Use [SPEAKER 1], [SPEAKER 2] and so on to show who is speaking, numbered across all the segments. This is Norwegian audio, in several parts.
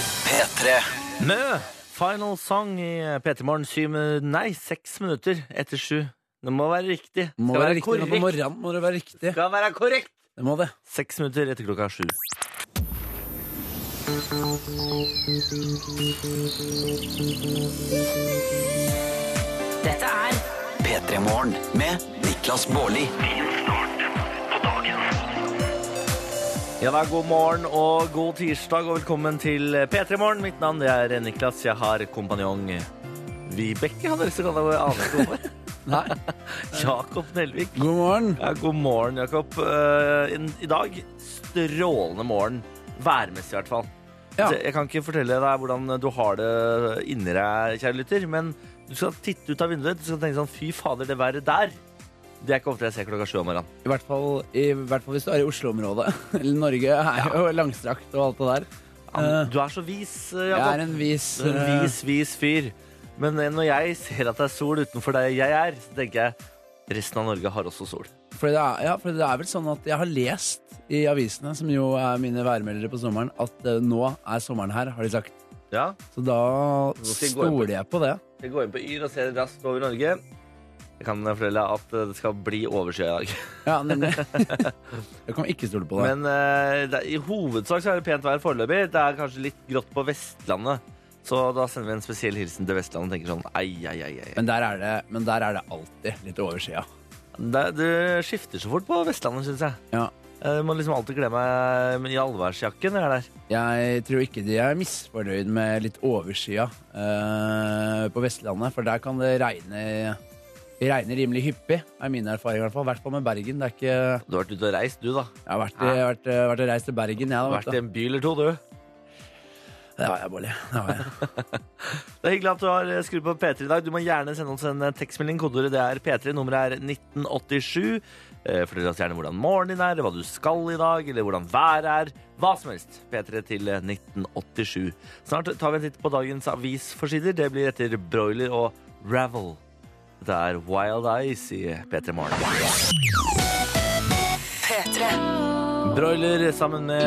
[SPEAKER 1] P3.
[SPEAKER 2] Mø! Final song i P3 Morgen syv minu- Nei, seks minutter etter sju. Det må være riktig.
[SPEAKER 3] Må
[SPEAKER 2] Skal
[SPEAKER 3] være
[SPEAKER 2] være
[SPEAKER 3] riktig, men på
[SPEAKER 2] korrekt.
[SPEAKER 3] morgenen må det være riktig.
[SPEAKER 2] Skal være korrekt.
[SPEAKER 3] Det må det.
[SPEAKER 2] Seks minutter etter klokka sju.
[SPEAKER 4] Dette er
[SPEAKER 1] P3 Morgen med Niklas Baarli.
[SPEAKER 2] Ja, da, God morgen og god tirsdag, og velkommen til P3 Morgen. Mitt navn det er Niklas. Jeg har kompanjong Vibeke, hadde jeg lyst til å kalle deg. Aner ikke hvorfor.
[SPEAKER 3] Nei.
[SPEAKER 2] Jakob Nelvik.
[SPEAKER 3] God morgen.
[SPEAKER 2] Ja, god morgen, Jakob. Eh, in- I dag strålende morgen. Værmessig, i hvert fall.
[SPEAKER 3] Ja.
[SPEAKER 2] Så Jeg kan ikke fortelle deg hvordan du har det inni deg, kjære lytter, men du skal titte ut av vinduet Du skal tenke sånn Fy fader, det været der. Det er ikke ofte jeg ser klokka sju om morgenen.
[SPEAKER 3] I hvert fall, i hvert fall hvis du er i Oslo-området. Eller Norge er jo langstrakt og alt det der.
[SPEAKER 2] Ja,
[SPEAKER 3] Eh,
[SPEAKER 2] Du er så vis, eh,
[SPEAKER 3] Jeg
[SPEAKER 2] Jakob.
[SPEAKER 3] er en vis
[SPEAKER 2] Du er en vis, vis fyr. Men eh, når jeg ser at det er sol utenfor der jeg er, så tenker jeg resten av Norge har også sol.
[SPEAKER 3] eh, Fordi det er, ja, fordi det er vel sånn at jeg har lest i avisene, som jo er mine værmeldere på sommeren, at eh, nå er sommeren her, har de sagt.
[SPEAKER 2] Ja,
[SPEAKER 3] Så da
[SPEAKER 2] Så skal jeg gå inn på-
[SPEAKER 3] stoler jeg på det.
[SPEAKER 2] Vi går inn på Yr og ser raskt over Norge. Jeg kan fortelle at eh, det skal bli overskyet i dag.
[SPEAKER 3] Ja, nemlig. jeg kan ikke stole på det.
[SPEAKER 2] Men eh, det, i hovedsak så er det pent vær foreløpig. Det er kanskje litt grått på Vestlandet. Så da sender vi en spesiell hilsen til Vestlandet og tenker sånn ei, ei, ei. ei.
[SPEAKER 3] Men der er det, men der er det alltid litt overskya.
[SPEAKER 2] Det, det skifter så fort på Vestlandet, syns jeg.
[SPEAKER 3] Ja.
[SPEAKER 2] Jeg må liksom alltid kle meg i allværsjakke når jeg er der.
[SPEAKER 3] Jeg tror ikke de er misfornøyd med litt overskya eh, på Vestlandet, for der kan det regne det regner rimelig hyppig, er min erfaring. I hvert fall I hvert fall med Bergen. Det er ikke,
[SPEAKER 2] Du har vært ute og reist, du, da.
[SPEAKER 3] jeg har vært, jeg har vært, jeg har vært og reist til Bergen, jeg.
[SPEAKER 2] Du
[SPEAKER 3] Da,
[SPEAKER 2] har
[SPEAKER 3] vet
[SPEAKER 2] vært i
[SPEAKER 3] du.
[SPEAKER 2] en by eller to, du.
[SPEAKER 3] Det har jeg, Bolli. Det har jeg.
[SPEAKER 2] Det er hyggelig at du har eh, skrudd på P3 i dag. Du må gjerne sende oss en eh, tekstmelding. Kodeordet det er P3. Nummeret er 1987. Eh, Fortell oss gjerne hvordan morgenen din er, hva du skal i dag, eller hvordan været er. Hva som helst. P3 til 1987. Snart tar vi en titt på dagens avisforsider. Det blir etter Broiler og Ravel. Det er Wild Eyes i P3 Morgen.
[SPEAKER 4] P3.
[SPEAKER 2] Broiler sammen med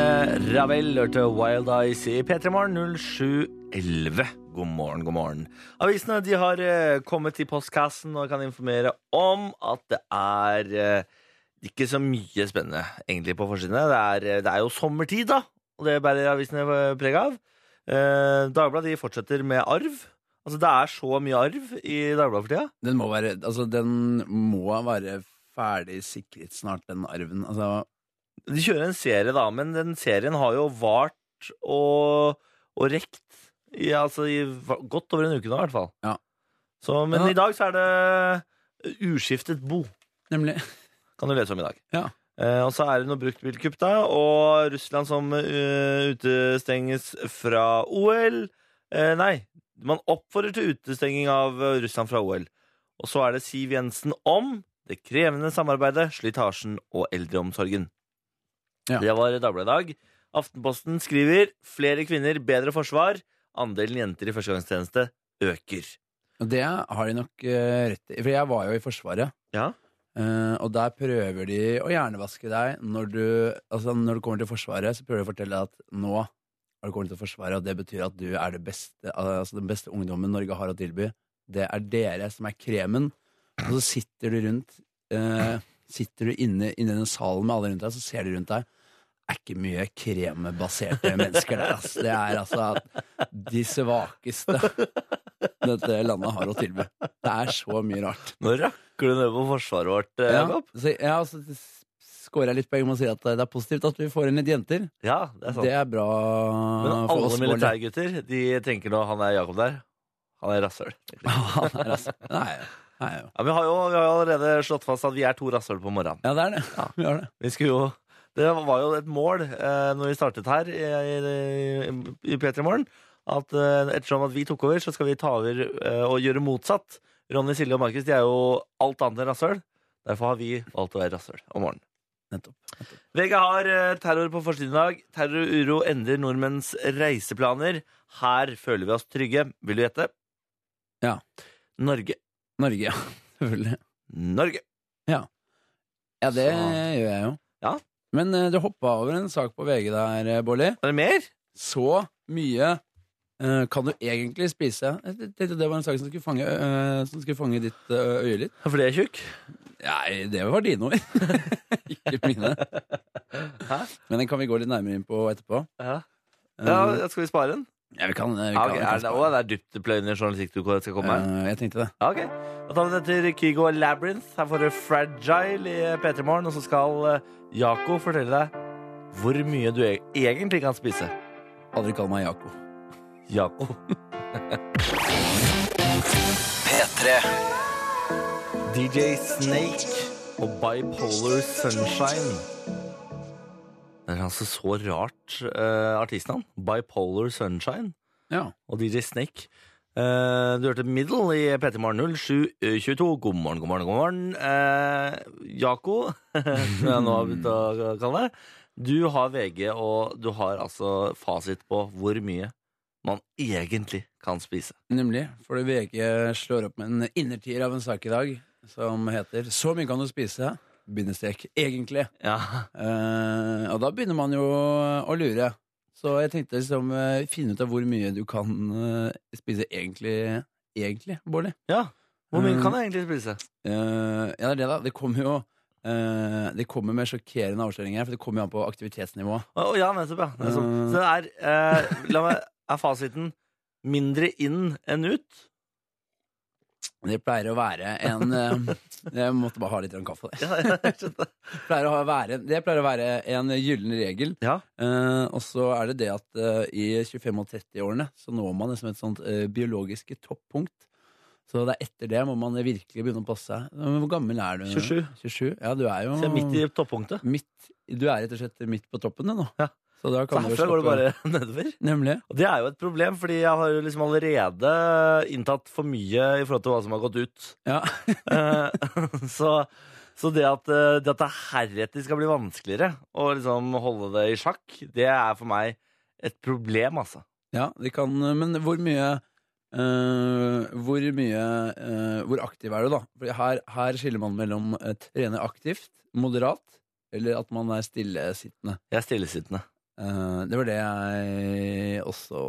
[SPEAKER 2] Ravel hørte Wild Eyes i P3 Morgen 0711. God morgen, god morgen. Avisene de har eh, kommet i postkassen og kan informere om at det er eh, ikke så mye spennende egentlig på forsidene. Det er, eh, det er jo sommertid, da, og det bærer avisene eh, preg av. Eh, Dagbladet de fortsetter med arv. Altså, Det er så mye arv i Dagbladet for tida.
[SPEAKER 3] Den må være Altså, den må være ferdig sikret snart, den arven. Altså,
[SPEAKER 2] De kjører en serie, da, men den serien har jo vart og, og rekt i, altså, i va- godt over en uke nå, i hvert fall.
[SPEAKER 3] Ja.
[SPEAKER 2] Så, men
[SPEAKER 3] Ja.
[SPEAKER 2] i dag så er det uskiftet bo,
[SPEAKER 3] nemlig.
[SPEAKER 2] kan du lese om i dag.
[SPEAKER 3] Ja.
[SPEAKER 2] Eh, og så er det noe bruktbilkupp, da, og Russland som eh, utestenges fra OL. Eh, nei, man oppfordrer til utestenging av eh, Russland fra OL. Og så er det Siv Jensen om det krevende samarbeidet, slitasjen og eldreomsorgen.
[SPEAKER 3] Ja.
[SPEAKER 2] Det var Dagbladet i dag. Aftenposten skriver 'Flere kvinner, bedre forsvar'. Andelen jenter i førstegangstjeneste øker.
[SPEAKER 3] Og det har de nok eh, rett i. For jeg var jo i Forsvaret.
[SPEAKER 2] Ja.
[SPEAKER 3] Eh, og der prøver de å hjernevaske deg. Når du, altså, når du kommer til Forsvaret, så prøver de å fortelle deg at nå har du kommet til Forsvaret, og det betyr at du er det beste, altså, den beste ungdommen Norge har å tilby. Det er dere som er kremen. Og så sitter du rundt eh, Sitter du inne inne i den salen med alle rundt deg, så ser du rundt deg. Det er ikke mye krembaserte mennesker der, ass. Det er altså de svakeste dette landet har å tilby. Det er så mye rart.
[SPEAKER 2] Nå rakker du ned på forsvaret vårt, eh,
[SPEAKER 3] Ja,
[SPEAKER 2] Jakob.
[SPEAKER 3] så, ja, så skårer jeg litt poeng med å si at eh, det er positivt at vi får inn litt jenter.
[SPEAKER 2] Ja, det er sant.
[SPEAKER 3] Det er bra
[SPEAKER 2] Men
[SPEAKER 3] for
[SPEAKER 2] alle
[SPEAKER 3] oss. Bård.
[SPEAKER 2] militærgutter de tenker nå han er Jakob der. Han er rasshøl. tenker de.
[SPEAKER 3] Han er altså- Nei, nei, jo.
[SPEAKER 2] Ja, vi, har jo, vi har jo allerede slått fast at vi er to rasshøl på morgenen.
[SPEAKER 3] Ja, det er det. Vi har det.
[SPEAKER 2] Vi skulle jo, det var jo et mål eh, når vi startet her i, i, i P3 Morgen, at eh, ettersom at vi tok over, så skal vi ta over eh, og gjøre motsatt. Ronny, Silje og Markus de er jo alt annet enn rasshøl. Derfor har vi valgt å være rasshøl om morgenen.
[SPEAKER 3] Nettopp.
[SPEAKER 2] VG har eh, terror på forsiden i dag. Terror og uro endrer nordmenns reiseplaner. Her føler vi oss trygge. Vil du gjette?
[SPEAKER 3] Ja.
[SPEAKER 2] Norge.
[SPEAKER 3] Norge, ja. Selvfølgelig.
[SPEAKER 2] Norge.
[SPEAKER 3] Ja, det
[SPEAKER 2] Så-
[SPEAKER 3] gjør jeg jo.
[SPEAKER 2] Ja.
[SPEAKER 3] Men eh, du hoppa over en sak på VG der, eh, Bolli.
[SPEAKER 2] Er det mer?
[SPEAKER 3] Så mye eh, kan du egentlig spise? Jeg tenkte det var en sak som skulle fange, eh, som skulle fange ditt eh, øye litt.
[SPEAKER 2] Fordi jeg er tjukk?
[SPEAKER 3] Nei, det var dine ord. Ikke mine. Men den kan vi gå litt nærmere inn på etterpå.
[SPEAKER 2] Ja.
[SPEAKER 3] Eh,
[SPEAKER 2] ja, Skal vi spare den?
[SPEAKER 3] ja, vi kan, eh, vi
[SPEAKER 2] Ja,
[SPEAKER 3] kan, vi
[SPEAKER 2] ok, er
[SPEAKER 3] kan
[SPEAKER 2] det,
[SPEAKER 3] spare
[SPEAKER 2] å, det er dyptpløyende journalistikk du skal komme med?
[SPEAKER 3] Eh, jeg tenkte det.
[SPEAKER 2] Ja, ok. Da tar vi den etter Kygo og Labyrinth. Her får du Fragile i eh, P3 Morgen. Og så skal eh, Jaco fortelle deg hvor mye du e- egentlig kan spise.
[SPEAKER 3] Aldri kall meg Jaco.
[SPEAKER 2] Jaco.
[SPEAKER 1] P3
[SPEAKER 2] DJ Snake og Bipolar Sunshine. Det er altså så rart eh, artistnavn. Bipolar Sunshine
[SPEAKER 3] Ja.
[SPEAKER 2] og DJ Snake. Eh, du hørte Middle i P3 Morgen 0722. God morgen, god morgen, god morgen. Eh, Jaco, som jeg nå har begynt å kalle deg, du har VG, og du har altså fasit på hvor mye man egentlig kan spise.
[SPEAKER 3] Nemlig. For VG slår opp med en innertier av en sak i dag som heter 'Så mye kan du spise'. Bindestrek. Egentlig.
[SPEAKER 2] Ja,
[SPEAKER 3] Eh, og da begynner man jo å lure. Så jeg tenkte liksom eh, finne ut av hvor mye du kan eh, spise egentlig, egentlig, Bårdli.
[SPEAKER 2] ja. Hvor mye
[SPEAKER 3] Mm.
[SPEAKER 2] kan jeg egentlig spise?
[SPEAKER 3] Eh, ja, det er det, da. Det kommer jo eh, Det kommer med sjokkerende avsløringer, for det kommer jo an på aktivitetsnivå.
[SPEAKER 2] Å å, ja, nettopp, ja. Nettopp.
[SPEAKER 3] Eh.
[SPEAKER 2] Så det er, eh, la meg, er fasiten mindre inn enn ut?
[SPEAKER 3] Det pleier å være en eh, Jeg måtte bare ha litt grann kaffe.
[SPEAKER 2] Ja, jeg skjønte.
[SPEAKER 3] Det pleier å ha- være, det pleier å være en gyllen regel.
[SPEAKER 2] Ja.
[SPEAKER 3] Eh, og så er det det at eh, i 25- og 30-årene så når man liksom et sånt eh, biologiske toppunkt. Så det er etter det må man virkelig begynne å passe seg. Men Hvor gammel er du?
[SPEAKER 2] 27.
[SPEAKER 3] 27? Ja, du er jo
[SPEAKER 2] Så jeg er midt i toppunktet.
[SPEAKER 3] midt- Du er rett og slett midt på toppen, du, nå.
[SPEAKER 2] Ja.
[SPEAKER 3] Så da
[SPEAKER 2] Så
[SPEAKER 3] kan du jo
[SPEAKER 2] herfra går det
[SPEAKER 3] slappe-
[SPEAKER 2] bare nedover.
[SPEAKER 3] Nemlig.
[SPEAKER 2] Og det er jo et problem, fordi jeg har jo liksom allerede inntatt for mye i forhold til hva som har gått ut.
[SPEAKER 3] Ja.
[SPEAKER 2] Eh, så, så det at eh, det at det heretter skal bli vanskeligere å liksom holde det i sjakk, det er for meg et problem, altså.
[SPEAKER 3] ja, det kan Men hvor mye eh, Hvor mye eh, Hvor aktiv er du, da? For her, her skiller man mellom uh, trene aktivt, moderat, eller at man er stillesittende.
[SPEAKER 2] Jeg er stillesittende.
[SPEAKER 3] Eh, det var det jeg også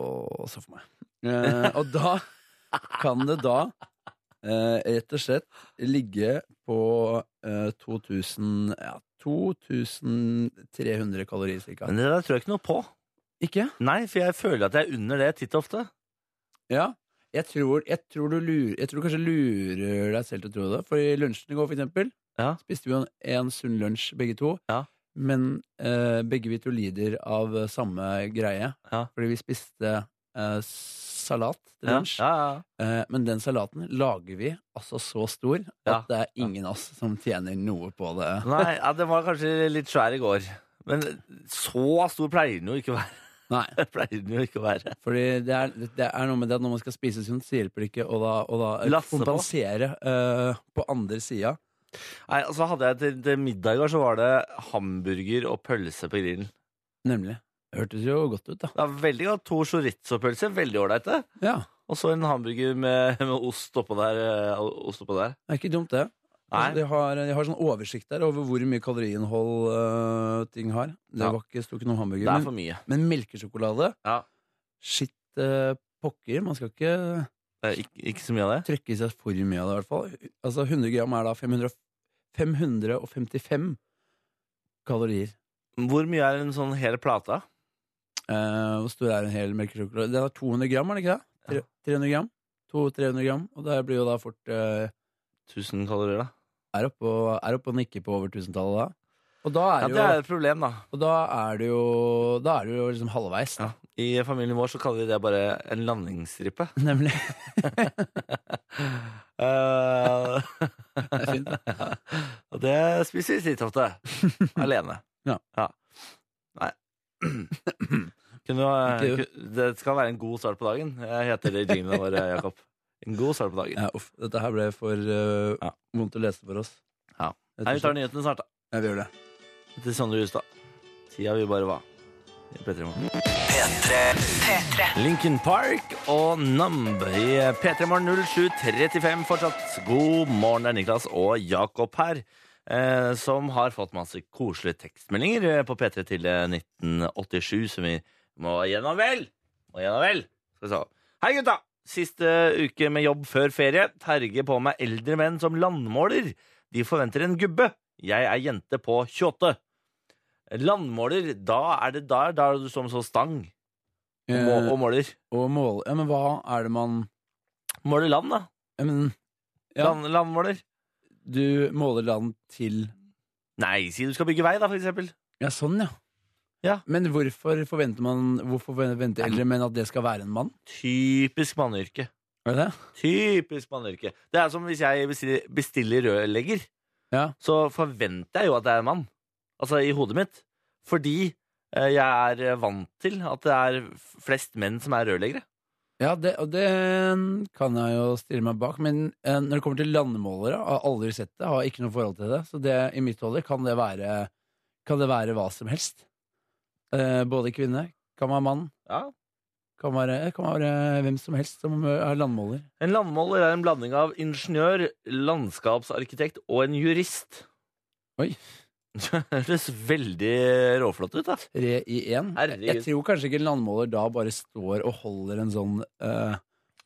[SPEAKER 3] så for meg. Eh, og da kan det da eh, rett og slett ligge på eh, 2000 ja, 2300 kalorier cirka.
[SPEAKER 2] Men det der tror jeg ikke noe på.
[SPEAKER 3] Ikke?
[SPEAKER 2] Nei, for jeg føler at jeg er under det titt og ofte.
[SPEAKER 3] Ja. Jeg tror, jeg, tror du lurer, jeg tror du kanskje lurer deg selv til å tro det. For i lunsjen i går, for eksempel,
[SPEAKER 2] Ja.
[SPEAKER 3] spiste vi jo en, en sunn lunsj, begge to.
[SPEAKER 2] Ja.
[SPEAKER 3] Men eh, begge vi to lider av eh, samme greie.
[SPEAKER 2] Ja.
[SPEAKER 3] Fordi vi spiste eh, salat til
[SPEAKER 2] Ja,
[SPEAKER 3] lunsj.
[SPEAKER 2] ja, ja.
[SPEAKER 3] Eh, men den salaten lager vi altså så stor at
[SPEAKER 2] Ja.
[SPEAKER 3] det er ingen av oss som tjener noe på det.
[SPEAKER 2] Nei, ja, den var kanskje litt svær i går. Men så stor pleier den jo ikke å være.
[SPEAKER 3] Nei.
[SPEAKER 2] Pleier den jo ikke å være.
[SPEAKER 3] Fordi det er, det er noe med det at når man skal spise sunt, så hjelper det ikke å da, å da eh,
[SPEAKER 2] Lasse på.
[SPEAKER 3] kompensere eh, på andre sida.
[SPEAKER 2] Nei, altså hadde jeg til, til middag i går, så var det hamburger og pølse på grillen.
[SPEAKER 3] Nemlig. Hørtes jo godt ut, da.
[SPEAKER 2] Det var veldig godt. To chorizo-pølser, veldig ålreite.
[SPEAKER 3] Ja,
[SPEAKER 2] Og så en hamburger med, med ost oppå der. eh, Ost oppå der.
[SPEAKER 3] Det er ikke dumt, det.
[SPEAKER 2] Nei.
[SPEAKER 3] Altså, de, har, de har sånn oversikt der over hvor mye kaloriinnhold øh, ting har. Det
[SPEAKER 2] Ja.
[SPEAKER 3] var ikke, sto ikke noe
[SPEAKER 2] Det
[SPEAKER 3] hamburger.
[SPEAKER 2] er
[SPEAKER 3] Men,
[SPEAKER 2] for mye.
[SPEAKER 3] men melkesjokolade
[SPEAKER 2] Ja.
[SPEAKER 3] Shit øh, pokker. Man skal ikke
[SPEAKER 2] Det er ikke, ikke så mye av det.
[SPEAKER 3] trykke i seg for mye av det, i hvert fall. Altså, 100 gram er da 500, 555 kalorier.
[SPEAKER 2] Hvor mye er en sånn hel plate?
[SPEAKER 3] Eh, hvor stor er en hel melkesjokolade? Den er 200 gram, er det ikke det? Tre- 300 gram? 200-300 gram. Og det blir jo da fort øh,
[SPEAKER 2] 1000 kalorier, da.
[SPEAKER 3] er oppe og, er oppe og nikker på over tusentallet da. Og da
[SPEAKER 2] Ja,
[SPEAKER 3] er det
[SPEAKER 2] det er
[SPEAKER 3] jo,
[SPEAKER 2] et problem, da.
[SPEAKER 3] og da er det jo, da er det jo liksom halvveis, da.
[SPEAKER 2] Ja. I familien vår så kaller de det bare en landingsstripe.
[SPEAKER 3] Nemlig.
[SPEAKER 2] Eh,
[SPEAKER 3] er fint,
[SPEAKER 2] Og det spiser vi titt ofte. Alene.
[SPEAKER 3] Ja.
[SPEAKER 2] Nei. Kunne du,
[SPEAKER 3] Ikke
[SPEAKER 2] ku- det skal være en god start på dagen. Jeg heter det i jinglene våre, Jakob. En god start på dagen.
[SPEAKER 3] Ja, uff, dette her ble for eh,
[SPEAKER 2] Ja.
[SPEAKER 3] vondt å lese for oss.
[SPEAKER 2] Ja.
[SPEAKER 3] Rett og
[SPEAKER 2] Nei, vi tar
[SPEAKER 3] slett.
[SPEAKER 2] nyhetene snart, da.
[SPEAKER 3] Ja, vi gjør det.
[SPEAKER 2] Til Sondre Hustad. Tida vi bare var. I P3 Morgen. Linkin Park og Numb i P3 Morgen 0735 fortsatt. God morgen, det er Niklas og Jakob her. Eh, som har fått masse koselige tekstmeldinger eh, på P3 til eh, 1987, som vi må gjennom vel! Må gjennom vel! Skal Skal vi se. Hei, gutta! Siste eh, uke med jobb før ferie. Terger på meg eldre menn som landmåler. De forventer en gubbe. Jeg er jente på 28. Landmåler, da er det der, da er det du som så stang og, må,
[SPEAKER 3] Eh,
[SPEAKER 2] og måler.
[SPEAKER 3] og mål Ja, men hva er det man
[SPEAKER 2] Måler land, da.
[SPEAKER 3] ja, men, Ja.
[SPEAKER 2] Land, landmåler.
[SPEAKER 3] Du måler land til
[SPEAKER 2] Nei, si du skal bygge vei, da, for eksempel.
[SPEAKER 3] Ja, sånn, ja.
[SPEAKER 2] Ja.
[SPEAKER 3] Men hvorfor forventer man Hvorfor forventer eldre menn at det skal være en mann?
[SPEAKER 2] Typisk manneyrke.
[SPEAKER 3] Er det det?
[SPEAKER 2] Typisk manneyrke. Det er som hvis jeg bestiller, bestiller rørlegger.
[SPEAKER 3] Ja.
[SPEAKER 2] Så forventer jeg jo at det er en mann. Altså i hodet mitt. Fordi eh, jeg er eh, vant til at det er f- flest menn som er rørleggere.
[SPEAKER 3] Ja, det, og det mm, kan jeg jo stille meg bak, men eh, når det kommer til landemålere, har aldri sett det, har ikke noe forhold til det. Så det, i mitt hode kan, det være- kan det være hva som helst. Eh, både kvinne, kan være mann,
[SPEAKER 2] Ja.
[SPEAKER 3] kan være, eh, kan være hvem som helst som eh, er landmåler.
[SPEAKER 2] En landmåler er en blanding av ingeniør, landskapsarkitekt og en jurist.
[SPEAKER 3] Oi.
[SPEAKER 2] Det høres veldig råflott ut, da.
[SPEAKER 3] Tre i én. Jeg,
[SPEAKER 2] Herregud.
[SPEAKER 3] jeg tror kanskje ikke en landmåler da bare står og holder en sånn eh,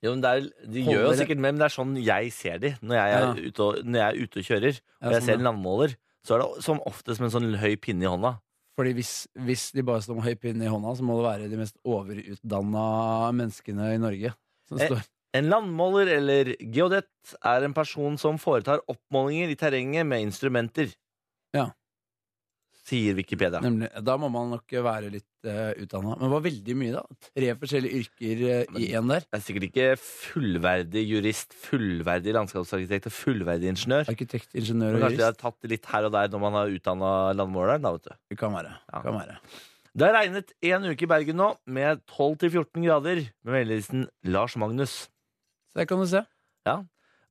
[SPEAKER 2] Jo, men det er, de
[SPEAKER 3] Holder
[SPEAKER 2] gjør jo
[SPEAKER 3] det.
[SPEAKER 2] sikkert mer, men det er sånn jeg ser de når jeg er,
[SPEAKER 3] Ja.
[SPEAKER 2] ute, og, når jeg er ute og kjører.
[SPEAKER 3] ja,
[SPEAKER 2] og jeg
[SPEAKER 3] sånn,
[SPEAKER 2] ser
[SPEAKER 3] ja.
[SPEAKER 2] en landmåler, så er det som oftest med en sånn høy pinne i hånda.
[SPEAKER 3] Fordi hvis, hvis de bare står med høy pinne i hånda, så må det være de mest overutdanna menneskene i Norge. Som
[SPEAKER 2] Eh,
[SPEAKER 3] står.
[SPEAKER 2] En landmåler eller geodett er en person som foretar oppmålinger i terrenget med instrumenter.
[SPEAKER 3] Ja.
[SPEAKER 2] Sier Wikipedia.
[SPEAKER 3] Nemlig, da må man nok være litt uh, utdanna. Men det var veldig mye, da. Tre forskjellige yrker eh, i én der.
[SPEAKER 2] Det er sikkert ikke fullverdig jurist, fullverdig landskapsarkitekt og fullverdig ingeniør.
[SPEAKER 3] Arkitekt, ingeniør
[SPEAKER 2] Men
[SPEAKER 3] og
[SPEAKER 2] kanskje de har
[SPEAKER 3] jurist.
[SPEAKER 2] tatt det litt her og der når man har utdanna landmåleren, da, vet du.
[SPEAKER 3] Det kan være.
[SPEAKER 2] Ja.
[SPEAKER 3] Kan være.
[SPEAKER 2] Det har regnet en uke i Bergen nå, med 12-14 grader, med meldingen Lars Magnus.
[SPEAKER 3] Så der kan du se.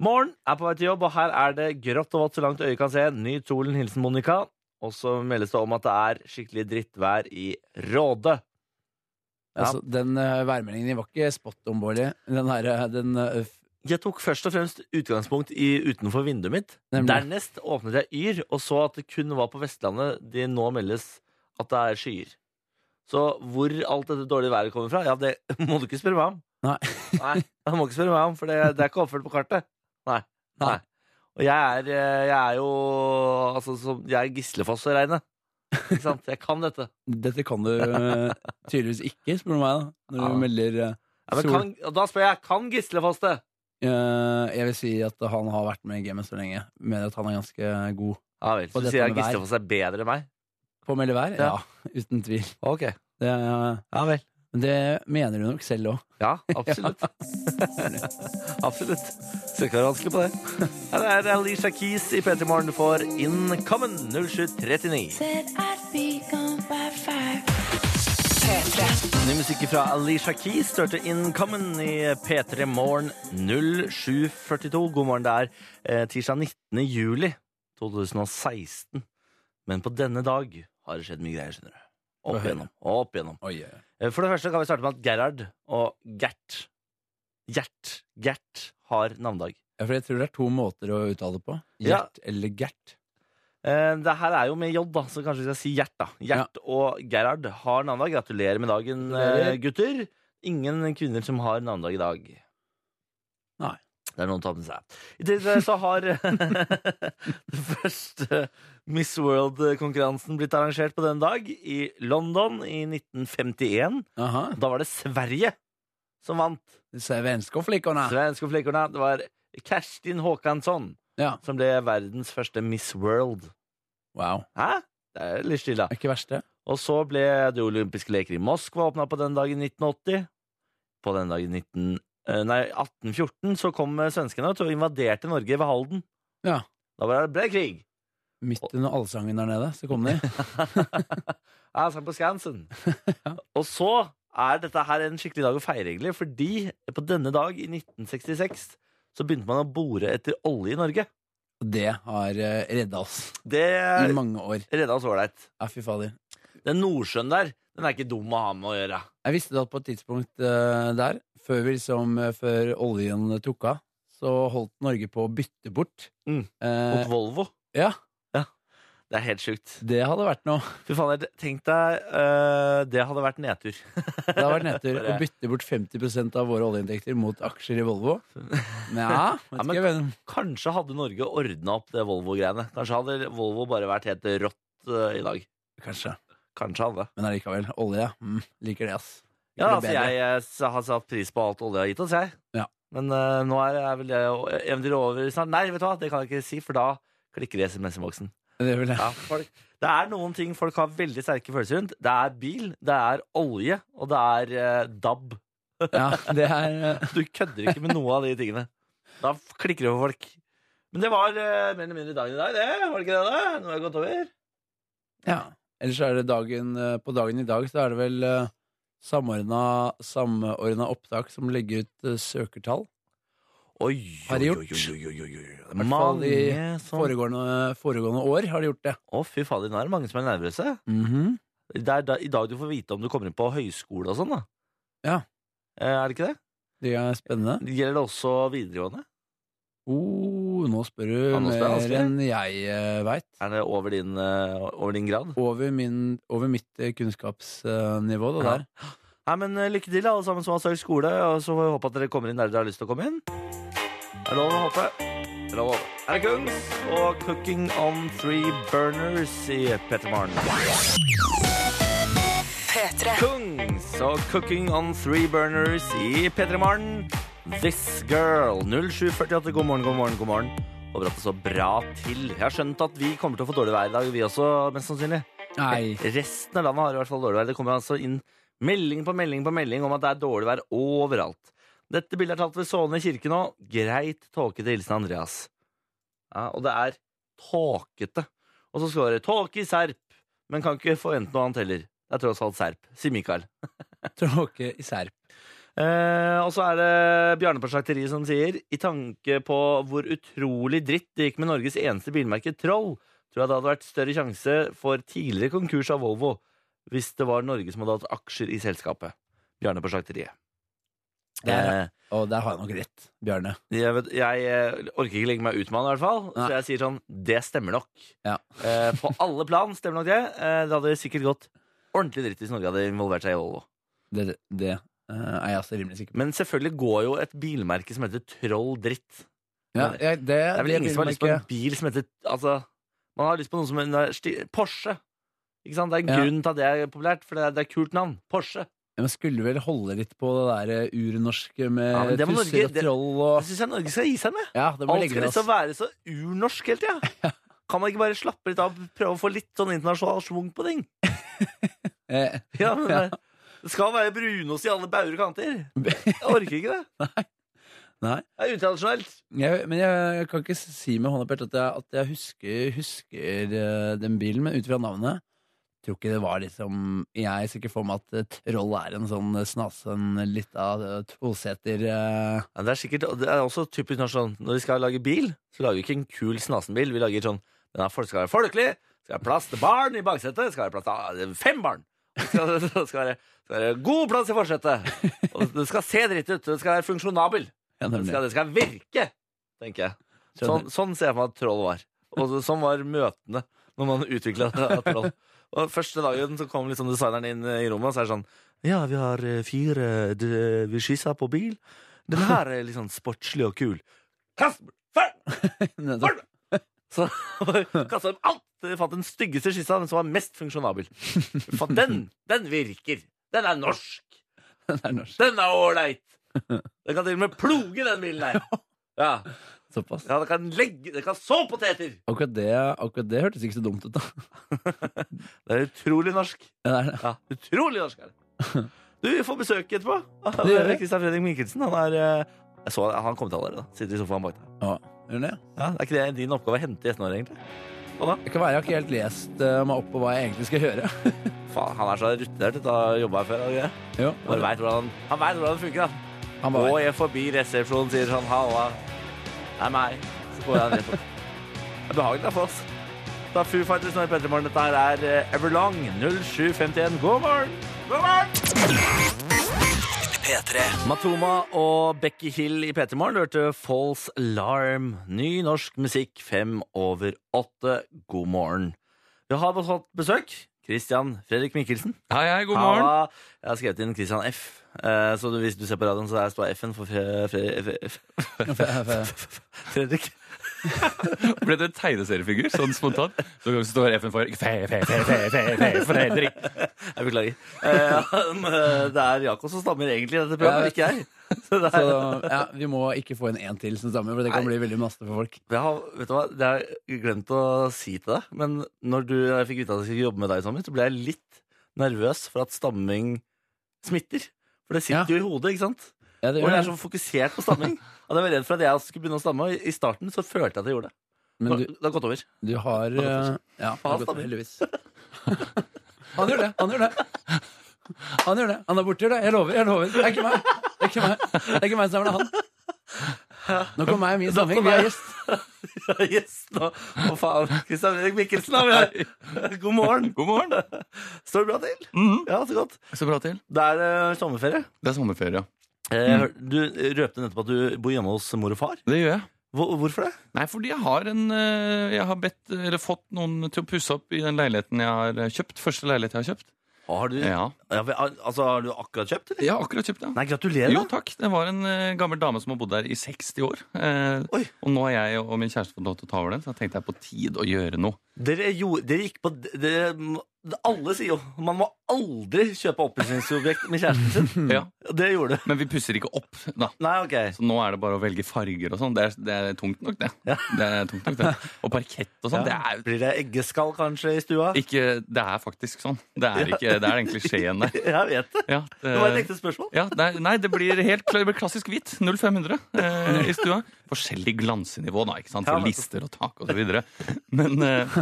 [SPEAKER 2] Morgen er på vei til jobb, og her er det grått og vått så langt øyet kan se. Ny solen, hilsen Monica. Og så meldes det om at det er skikkelig drittvær i Råde. Ja.
[SPEAKER 3] Altså, den eh, værmeldingen din var ikke spot on, Bårdli. Den her, eh, den eh, f-
[SPEAKER 2] Jeg tok først og fremst utgangspunkt i utenfor vinduet mitt.
[SPEAKER 3] Nemlig.
[SPEAKER 2] Dernest åpnet jeg Yr og så at det kun var på Vestlandet de nå meldes at det er skyer. Så hvor alt dette dårlige været kommer fra, ja, det må du ikke spørre meg om.
[SPEAKER 3] Nei.
[SPEAKER 2] Nei, det må du ikke spørre meg om, for det, det er ikke oppført på kartet. Nei. Nei.
[SPEAKER 3] Nei.
[SPEAKER 2] Og jeg er, eh, jeg er jo altså, som, Jeg er Gislefoss å regne. Ikke sant? Jeg kan dette.
[SPEAKER 3] Dette kan du eh, tydeligvis ikke, spør du meg, da. Når du
[SPEAKER 2] Ja.
[SPEAKER 3] melder eh,
[SPEAKER 2] Ja, men
[SPEAKER 3] Sol.
[SPEAKER 2] kan, og da spør jeg kan Gislefoss det?
[SPEAKER 3] Eh, Jeg vil si at han har vært med i gamet så lenge. Mener at han er ganske god
[SPEAKER 2] Ja vel.
[SPEAKER 3] Og
[SPEAKER 2] Så
[SPEAKER 3] dette
[SPEAKER 2] sier jeg
[SPEAKER 3] med vær.
[SPEAKER 2] Gislefoss er bedre enn meg?
[SPEAKER 3] på å melde vær. Ja,
[SPEAKER 2] Ja.
[SPEAKER 3] uten tvil.
[SPEAKER 2] Ok.
[SPEAKER 3] Det, eh,
[SPEAKER 2] Ja vel.
[SPEAKER 3] men det mener du nok selv òg.
[SPEAKER 2] Ja, absolutt. absolutt. Skal ikke være vanskelig på det. Her er Alicia Keys i P3 Morgen for Incomen 0739.
[SPEAKER 5] Said I'd be gone by five.
[SPEAKER 2] Ny musikk fra Alicia Keys størte Incomen i P3 Morgen 0742. God morgen, det er eh, tirsdag 19. juli 2016. Men på denne dag har det skjedd mye greier, skjønner du. Opp
[SPEAKER 3] Få høre.
[SPEAKER 2] igjennom. Opp igjennom.
[SPEAKER 3] Oi, oi, oi.
[SPEAKER 2] Eh, For det første kan vi starte med at Gerhard og Gert Gjert, Gert har navnedag.
[SPEAKER 3] Ja, for jeg tror det er to måter å uttale det på.
[SPEAKER 2] Ja.
[SPEAKER 3] Gjert eller Gert.
[SPEAKER 2] Eh, Det her er jo med J, da, så kanskje vi skal si Gjert. da Gjert og Gerhard har navnedag. Gratulerer med dagen,
[SPEAKER 3] Gratulerer.
[SPEAKER 2] eh, gutter. Ingen kvinner som har navnedag i dag.
[SPEAKER 3] Nei.
[SPEAKER 2] Det er noen å ta med seg. I tillegg så har den første Miss World-konkurransen blitt arrangert på denne dag, i London i 1951.
[SPEAKER 3] Aha.
[SPEAKER 2] Da var det Sverige som vant.
[SPEAKER 3] Svenske flikkerne.
[SPEAKER 2] Svenske flikkerne. Det var Kerstin Håkansson
[SPEAKER 3] Ja.
[SPEAKER 2] som ble verdens første Miss World.
[SPEAKER 3] Wow.
[SPEAKER 2] Hæ? Det er litt stille.
[SPEAKER 3] Er ikke verst, det.
[SPEAKER 2] Og så ble de olympiske leker i Moskva åpna på den dagen i 1980. På den dagen i 19, eh, nei, 1814 så kom eh, svenskene og invaderte Norge ved Halden.
[SPEAKER 3] Ja.
[SPEAKER 2] Da var det ble krig.
[SPEAKER 3] Midt under allsangen der nede, så kom de.
[SPEAKER 2] Ja, sang på Skansen. Og så er dette her en skikkelig dag å feire, egentlig, fordi på denne dag i 1966 så begynte man å bore etter olje i Norge.
[SPEAKER 3] Og det har uh, redda oss
[SPEAKER 2] Det
[SPEAKER 3] i mange år.
[SPEAKER 2] redda oss ålreit.
[SPEAKER 3] Ja, fy fader.
[SPEAKER 2] Den Nordsjøen der, den er ikke dum å ha med å gjøre.
[SPEAKER 3] Jeg visste det at på et tidspunkt eh, der, før, vi liksom, eh, før oljen tok av, så holdt Norge på å bytte bort
[SPEAKER 2] Mm.
[SPEAKER 3] eh,
[SPEAKER 2] Mot Volvo.
[SPEAKER 3] ja.
[SPEAKER 2] Det er helt sjukt.
[SPEAKER 3] Det hadde vært noe.
[SPEAKER 2] Fy faen, jeg- tenk deg eh, Det hadde vært nedtur.
[SPEAKER 3] Det hadde vært nedtur å bytte bort 50 av våre oljeinntekter mot aksjer i Volvo. Nja, vet
[SPEAKER 2] Ja, men-
[SPEAKER 3] ikke, men
[SPEAKER 2] Kanskje hadde Norge ordna opp det Volvo-greiene. Kanskje hadde Volvo bare vært helt rått eh, i dag.
[SPEAKER 3] kanskje.
[SPEAKER 2] Kanskje hadde.
[SPEAKER 3] Men allikevel. Olje. Mm, liker det, ass. Liker
[SPEAKER 2] Ja,
[SPEAKER 3] det
[SPEAKER 2] altså
[SPEAKER 3] bedre.
[SPEAKER 2] jeg eh, s- har satt pris på alt olje har gitt oss, jeg.
[SPEAKER 3] Ja.
[SPEAKER 2] Men eh, nå er er vel det å- eventyret over snart. Nei, vet du hva, det kan jeg ikke si, for da klikker det i SMS-boksen.
[SPEAKER 3] Det vil jeg.
[SPEAKER 2] Ja, folk- det er noen ting folk har veldig sterke følelser rundt. Det er bil, det er olje, og det er eh, DAB.
[SPEAKER 3] Ja, det er eh,
[SPEAKER 2] Du kødder ikke med noe av de tingene. Da f- klikker det for folk. Men det var eh, mer eller mindre dagen i dag, det. Var det ikke det? da? Nå har jeg gått over.
[SPEAKER 3] Ja. Ellers er det dagen eh, På dagen i dag så er det vel eh, samordna, samordna opptak som legger ut eh, søkertall.
[SPEAKER 2] Oi,
[SPEAKER 3] Har de gjort?
[SPEAKER 2] Det er
[SPEAKER 3] fall
[SPEAKER 2] mange
[SPEAKER 3] i
[SPEAKER 2] som Å,
[SPEAKER 3] Foregående, foregående år har de gjort det.
[SPEAKER 2] fy fader, nå er det mange som er nervøse. Mhm. Det er da, i dag du får vite om du kommer inn på høyskole og sånn, da.
[SPEAKER 3] Ja.
[SPEAKER 2] Eh, Er det ikke det?
[SPEAKER 3] Det er spennende.
[SPEAKER 2] Gjelder det også videregående?
[SPEAKER 3] Oh, nå spør du
[SPEAKER 2] Ja, nå spør jeg
[SPEAKER 3] mer
[SPEAKER 2] vanskelig.
[SPEAKER 3] enn jeg uh, veit.
[SPEAKER 2] Er det over din, eh, over din grad?
[SPEAKER 3] Over, min, over mitt eh, kunnskapsnivå, det
[SPEAKER 2] Ja.
[SPEAKER 3] der.
[SPEAKER 2] Nei, men eh, Lykke til, alle sammen som har søkt skole. Og så får vi håpe at dere kommer inn der dere har lyst til å komme inn. Det er lov å håpe. Det er lov å håpe. Her er Kungs og 'Cooking on Three Burners' i Petter Maren. Kungs og 'Cooking on Three Burners' i Petter Maren. This Girl. 0748. God morgen, god morgen, god morgen. Håper at det står bra til. Jeg har skjønt at vi kommer til å få dårlig vær i dag, vi også, mest sannsynlig.
[SPEAKER 3] Nei.
[SPEAKER 2] Resten av landet har i hvert fall dårlig vær. Det kommer altså inn melding på melding på melding om at det er dårlig vær overalt. Dette bildet er tatt ved Såne kirke nå. Greit tåkete hilsen Andreas. Ja, og det er tåkete. Og så skal det være tåke i Serp, men kan ikke forvente noe annet heller. Det er tross alt Serp, sier Mikael.
[SPEAKER 3] Tråke i serp.
[SPEAKER 2] Eh, og så er det Bjarne på slakteriet som sier I tanke på hvor utrolig dritt det gikk med Norges eneste bilmerke Troll, tror jeg det hadde vært større sjanse for tidligere konkurs av Volvo hvis det var Norge som hadde hatt aksjer i selskapet. Bjarne på slakteriet.
[SPEAKER 3] Det er-
[SPEAKER 2] Eh,
[SPEAKER 3] Og der har jeg nok rett, Bjarne.
[SPEAKER 2] jeg, vet, jeg eh, orker ikke legge meg ut med han, i hvert fall. Så
[SPEAKER 3] Nei.
[SPEAKER 2] jeg sier sånn Det stemmer nok.
[SPEAKER 3] Ja.
[SPEAKER 2] Eh, på alle plan stemmer nok det. Eh, det hadde sikkert gått ordentlig dritt hvis Norge hadde involvert seg i Volvo.
[SPEAKER 3] Det, det eh, er jeg også rimelig sikker på.
[SPEAKER 2] Men selvfølgelig går jo et bilmerke som heter Troll dritt.
[SPEAKER 3] Ja, jeg, det,
[SPEAKER 2] Det er vel
[SPEAKER 3] det
[SPEAKER 2] ingen som har
[SPEAKER 3] vil
[SPEAKER 2] lyst på
[SPEAKER 3] jeg
[SPEAKER 2] en bil som heter altså, Man har lyst på noe som er sti- Porsche. Ikke sant? Det er en
[SPEAKER 3] Ja.
[SPEAKER 2] grunn til at det er populært, for det er, det er et kult navn. Porsche.
[SPEAKER 3] Ja, Men skulle vel holde litt på det der eh, urnorske med
[SPEAKER 2] Ja, men det må
[SPEAKER 3] tusser
[SPEAKER 2] Norge-
[SPEAKER 3] og
[SPEAKER 2] det-
[SPEAKER 3] troll
[SPEAKER 2] Det
[SPEAKER 3] og
[SPEAKER 2] syns jeg Norge skal gi seg med.
[SPEAKER 3] Ja, det må
[SPEAKER 2] Alt
[SPEAKER 3] legge
[SPEAKER 2] skal
[SPEAKER 3] det
[SPEAKER 2] liksom
[SPEAKER 3] oss.
[SPEAKER 2] være så urnorsk hele tida. Kan man ikke bare slappe litt av prøve å få litt sånn internasjonal schwung på ting?
[SPEAKER 3] Eh,
[SPEAKER 2] Ja, men det, det skal være brunost i alle bauger og kanter. Jeg orker ikke det.
[SPEAKER 3] Nei.
[SPEAKER 2] Det er utradisjonelt.
[SPEAKER 3] Jeg, men jeg, jeg kan ikke si med hånda på hjertet at jeg, at jeg husker, husker eh, den bilen, men ut fra navnet tror ikke det var liksom Jeg ser ikke for meg at eh, troll er en sånn eh, snasen lita eh, toseter eh,
[SPEAKER 2] Ja, det er sikkert, og det er også typisk norsk sånn Når vi skal lage bil, så lager vi ikke en kul snasenbil Vi lager sånn, den er, folk- skal være folkelig Skal være plass til barn i baksetet Skal være plass til ah, fem barn Det skal, det skal, være, skal være god plass i forsetet Og det skal se dritt ut Det skal være funksjonabel Det
[SPEAKER 3] ja, nemlig.
[SPEAKER 2] skal, det skal virke, tenker jeg
[SPEAKER 3] Skjønner.
[SPEAKER 2] Sånn, sånn ser jeg for meg at troll var. Og så- sånn var møtene når man utvikla troll. Og første dagen så kom liksom designeren inn eh, i rommet og så er det sånn Ja, vi har eh, fire d- Vi skissa på bil. Den her er litt sånn sportslig og kul. Kast dem! Fer!
[SPEAKER 3] Nettopp.
[SPEAKER 2] Så kasta dem alt! De fant den styggeste skissa, den som var mest funksjonabel. For den, den virker! Den er norsk!
[SPEAKER 3] Det er norsk.
[SPEAKER 2] Den er ålreit! Den kan til og med ploge, den bilen der. Ja,
[SPEAKER 3] Såpass.
[SPEAKER 2] ja den kan legge Den kan så poteter!
[SPEAKER 3] Akkurat det, akkurat det hørtes ikke så dumt ut, da.
[SPEAKER 2] Det er utrolig norsk.
[SPEAKER 3] Ja, det er det.
[SPEAKER 2] Ja, utrolig norsk er det. Du, vi får besøk etterpå.
[SPEAKER 3] Det gjør vi.
[SPEAKER 2] Kristian Fredrik Mikkelsen. Han er eh, jeg så, han kom til allerede. da. Sitter i sofaen bak deg.
[SPEAKER 3] Ja, gjør det?
[SPEAKER 2] Ja, er ikke det din oppgave å hente gjestene våre, egentlig?
[SPEAKER 3] Det kan være jeg har ikke helt lest eh, meg opp på hva jeg egentlig skal gjøre.
[SPEAKER 2] Faen, han er så rutinert etter å ha jobba her før. og greier.
[SPEAKER 3] Jo,
[SPEAKER 2] Bare vet hvordan, han veit hvordan det funker, da.
[SPEAKER 3] han bare
[SPEAKER 2] Går jeg forbi resepsjonen, sier sånn halla, det er meg. Så går han rett opp. Det er behagelig da, for oss. Da Foo Fighters nå i Petter Morgen. Dette her er eh, Everlong 0751. God morgen! God morgen!
[SPEAKER 1] P3.
[SPEAKER 2] Matoma og Becky Hill i P3 Morgen hørte False Alarm. Ny norsk musikk fem over åtte. God morgen. Vi har fått besøk. Christian Fredrik Mikkelsen.
[SPEAKER 6] Hei, hei, god morgen.
[SPEAKER 2] Halla. Jeg har skrevet inn Christian F. Eh, Så du, hvis du ser på radioen, så der står F-en for Fre Fre Fre Fredrik.
[SPEAKER 6] Ble du en tegneseriefigur sånn spontant? Så kan du stå her FN for fe, fe, fe, fe, fe, fe, Fredrik.
[SPEAKER 2] Jeg beklager. Eh, men Det er Jakob som stammer egentlig i dette programmet, ikke jeg. Så det
[SPEAKER 3] Så
[SPEAKER 2] er,
[SPEAKER 3] ja, vi må ikke få en en til som stammer, for det kan bli veldig masse for folk.
[SPEAKER 2] jeg har, vet du hva, det har jeg glemt å si til deg, men når du, jeg fikk vite at jeg skulle jobbe med deg i sommer, så ble jeg litt nervøs for at stamming smitter. For det sitter
[SPEAKER 3] Ja.
[SPEAKER 2] jo i hodet, ikke sant?
[SPEAKER 3] Ja, det
[SPEAKER 2] Og jeg
[SPEAKER 3] gjør
[SPEAKER 2] er
[SPEAKER 3] det.
[SPEAKER 2] så fokusert på stamming. At jeg var redd for at jeg skulle begynne å stamme, og i starten så følte jeg at jeg gjorde det.
[SPEAKER 3] Men du,
[SPEAKER 2] Det har gått over.
[SPEAKER 3] du har eh, Ja, det har gått over, heldigvis. Han gjør det, han gjør det. Han gjør det, han er borti det. Jeg lover, jeg lover. Det er ikke meg. Det er ikke meg, det er ikke meg som er det, han. Nå kom meg i min sammenheng. Vi er gjest.
[SPEAKER 2] Yes, nå. Å faen, Kristian Erik Mikkelsen har vi her. God morgen.
[SPEAKER 6] God morgen.
[SPEAKER 2] Står det bra til? Ja, så godt.
[SPEAKER 6] Så bra til.
[SPEAKER 2] Det er eh, sommerferie.
[SPEAKER 6] Mhm. Det er sommerferie, ja.
[SPEAKER 2] Eh, hør- Du røpte nettopp at du bor hjemme hos mor og far.
[SPEAKER 6] Det gjør jeg.
[SPEAKER 2] Hvor, hvorfor det?
[SPEAKER 6] Nei, fordi jeg har, en, eh, jeg har bedt, eller fått noen til å pusse opp i den leiligheten jeg har eh, kjøpt. Første leilighet jeg har kjøpt.
[SPEAKER 2] Har du,
[SPEAKER 6] Ja,
[SPEAKER 2] Ja, vi- al- altså, har du akkurat kjøpt, eller?
[SPEAKER 6] jeg har akkurat kjøpt den.
[SPEAKER 2] Nei, gratulerer.
[SPEAKER 6] Jo,
[SPEAKER 2] da.
[SPEAKER 6] takk. Det var en eh, gammel dame som har bodd der i 60 år. Eh,
[SPEAKER 2] Oi.
[SPEAKER 6] og nå har jeg og min kjæreste fått lov til å ta over den, så da tenkte jeg på tid å gjøre noe.
[SPEAKER 2] Dere, gjorde- dere gikk på dere, må- Alle sier jo man må aldri kjøpe oppussingsobjekt med kjæresten sin.
[SPEAKER 6] Ja,
[SPEAKER 2] Det gjorde du.
[SPEAKER 6] Men vi pusser ikke opp, da.
[SPEAKER 2] Nei, ok.
[SPEAKER 6] Så nå er det bare å velge farger og sånn. Det, er- det er tungt nok, det. Det er tungt nok det. Og parkett og sånn. Det, er
[SPEAKER 2] Blir det eggeskall kanskje i stua?
[SPEAKER 6] jo ikke- det er faktisk sånn. Det er, ikke, det er den klisjeen der.
[SPEAKER 2] Jeg vet det.
[SPEAKER 6] Ja,
[SPEAKER 2] Det var et ekte spørsmål.
[SPEAKER 6] Ja, nei, nei, det blir helt kla- det blir klassisk hvitt. 0500 eh, i stua. Forskjellig glansenivå, da, ikke sant?
[SPEAKER 2] Ja,
[SPEAKER 6] for
[SPEAKER 2] nettopp.
[SPEAKER 6] lister og tak og så videre. Men eh,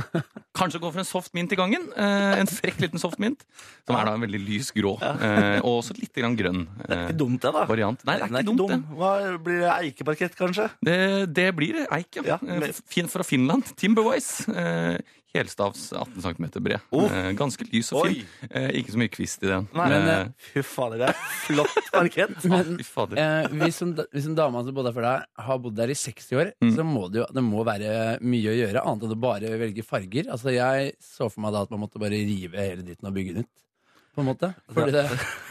[SPEAKER 6] kanskje gå for en soft mint i gangen. Eh, en frekk liten soft mint, som er da en veldig lys grå. Eh, og også litt grann grønn eh,
[SPEAKER 2] Ikke dumt, det, da.
[SPEAKER 6] variant. Nei, det er
[SPEAKER 2] Den
[SPEAKER 6] ikke dumt, det.
[SPEAKER 2] Hva, blir det eikeparkett, kanskje?
[SPEAKER 6] Det, Eh, det blir eik, ja.
[SPEAKER 2] Ja,
[SPEAKER 6] Eh,
[SPEAKER 2] men-
[SPEAKER 6] fin, fra Finland. Timberwise. Eh, helstavs 18 cm bred.
[SPEAKER 2] Uff.
[SPEAKER 6] Eh, ganske lys og fin. Eh, ikke så mye kvist i den.
[SPEAKER 2] Nei,
[SPEAKER 3] men,
[SPEAKER 6] Eh,
[SPEAKER 2] Fy fader, det er flott parkett.
[SPEAKER 6] ah, fy fader.
[SPEAKER 3] Eh, hvis, en, da- hvis en dame som bodde der før deg, har bodd der i 60 år,
[SPEAKER 6] Mm.
[SPEAKER 3] så må det jo det må være mye å gjøre, annet enn å bare velge farger. Altså, jeg så for meg da at man måtte bare rive hele dritten og bygge nytt. På en måte. Fordi det,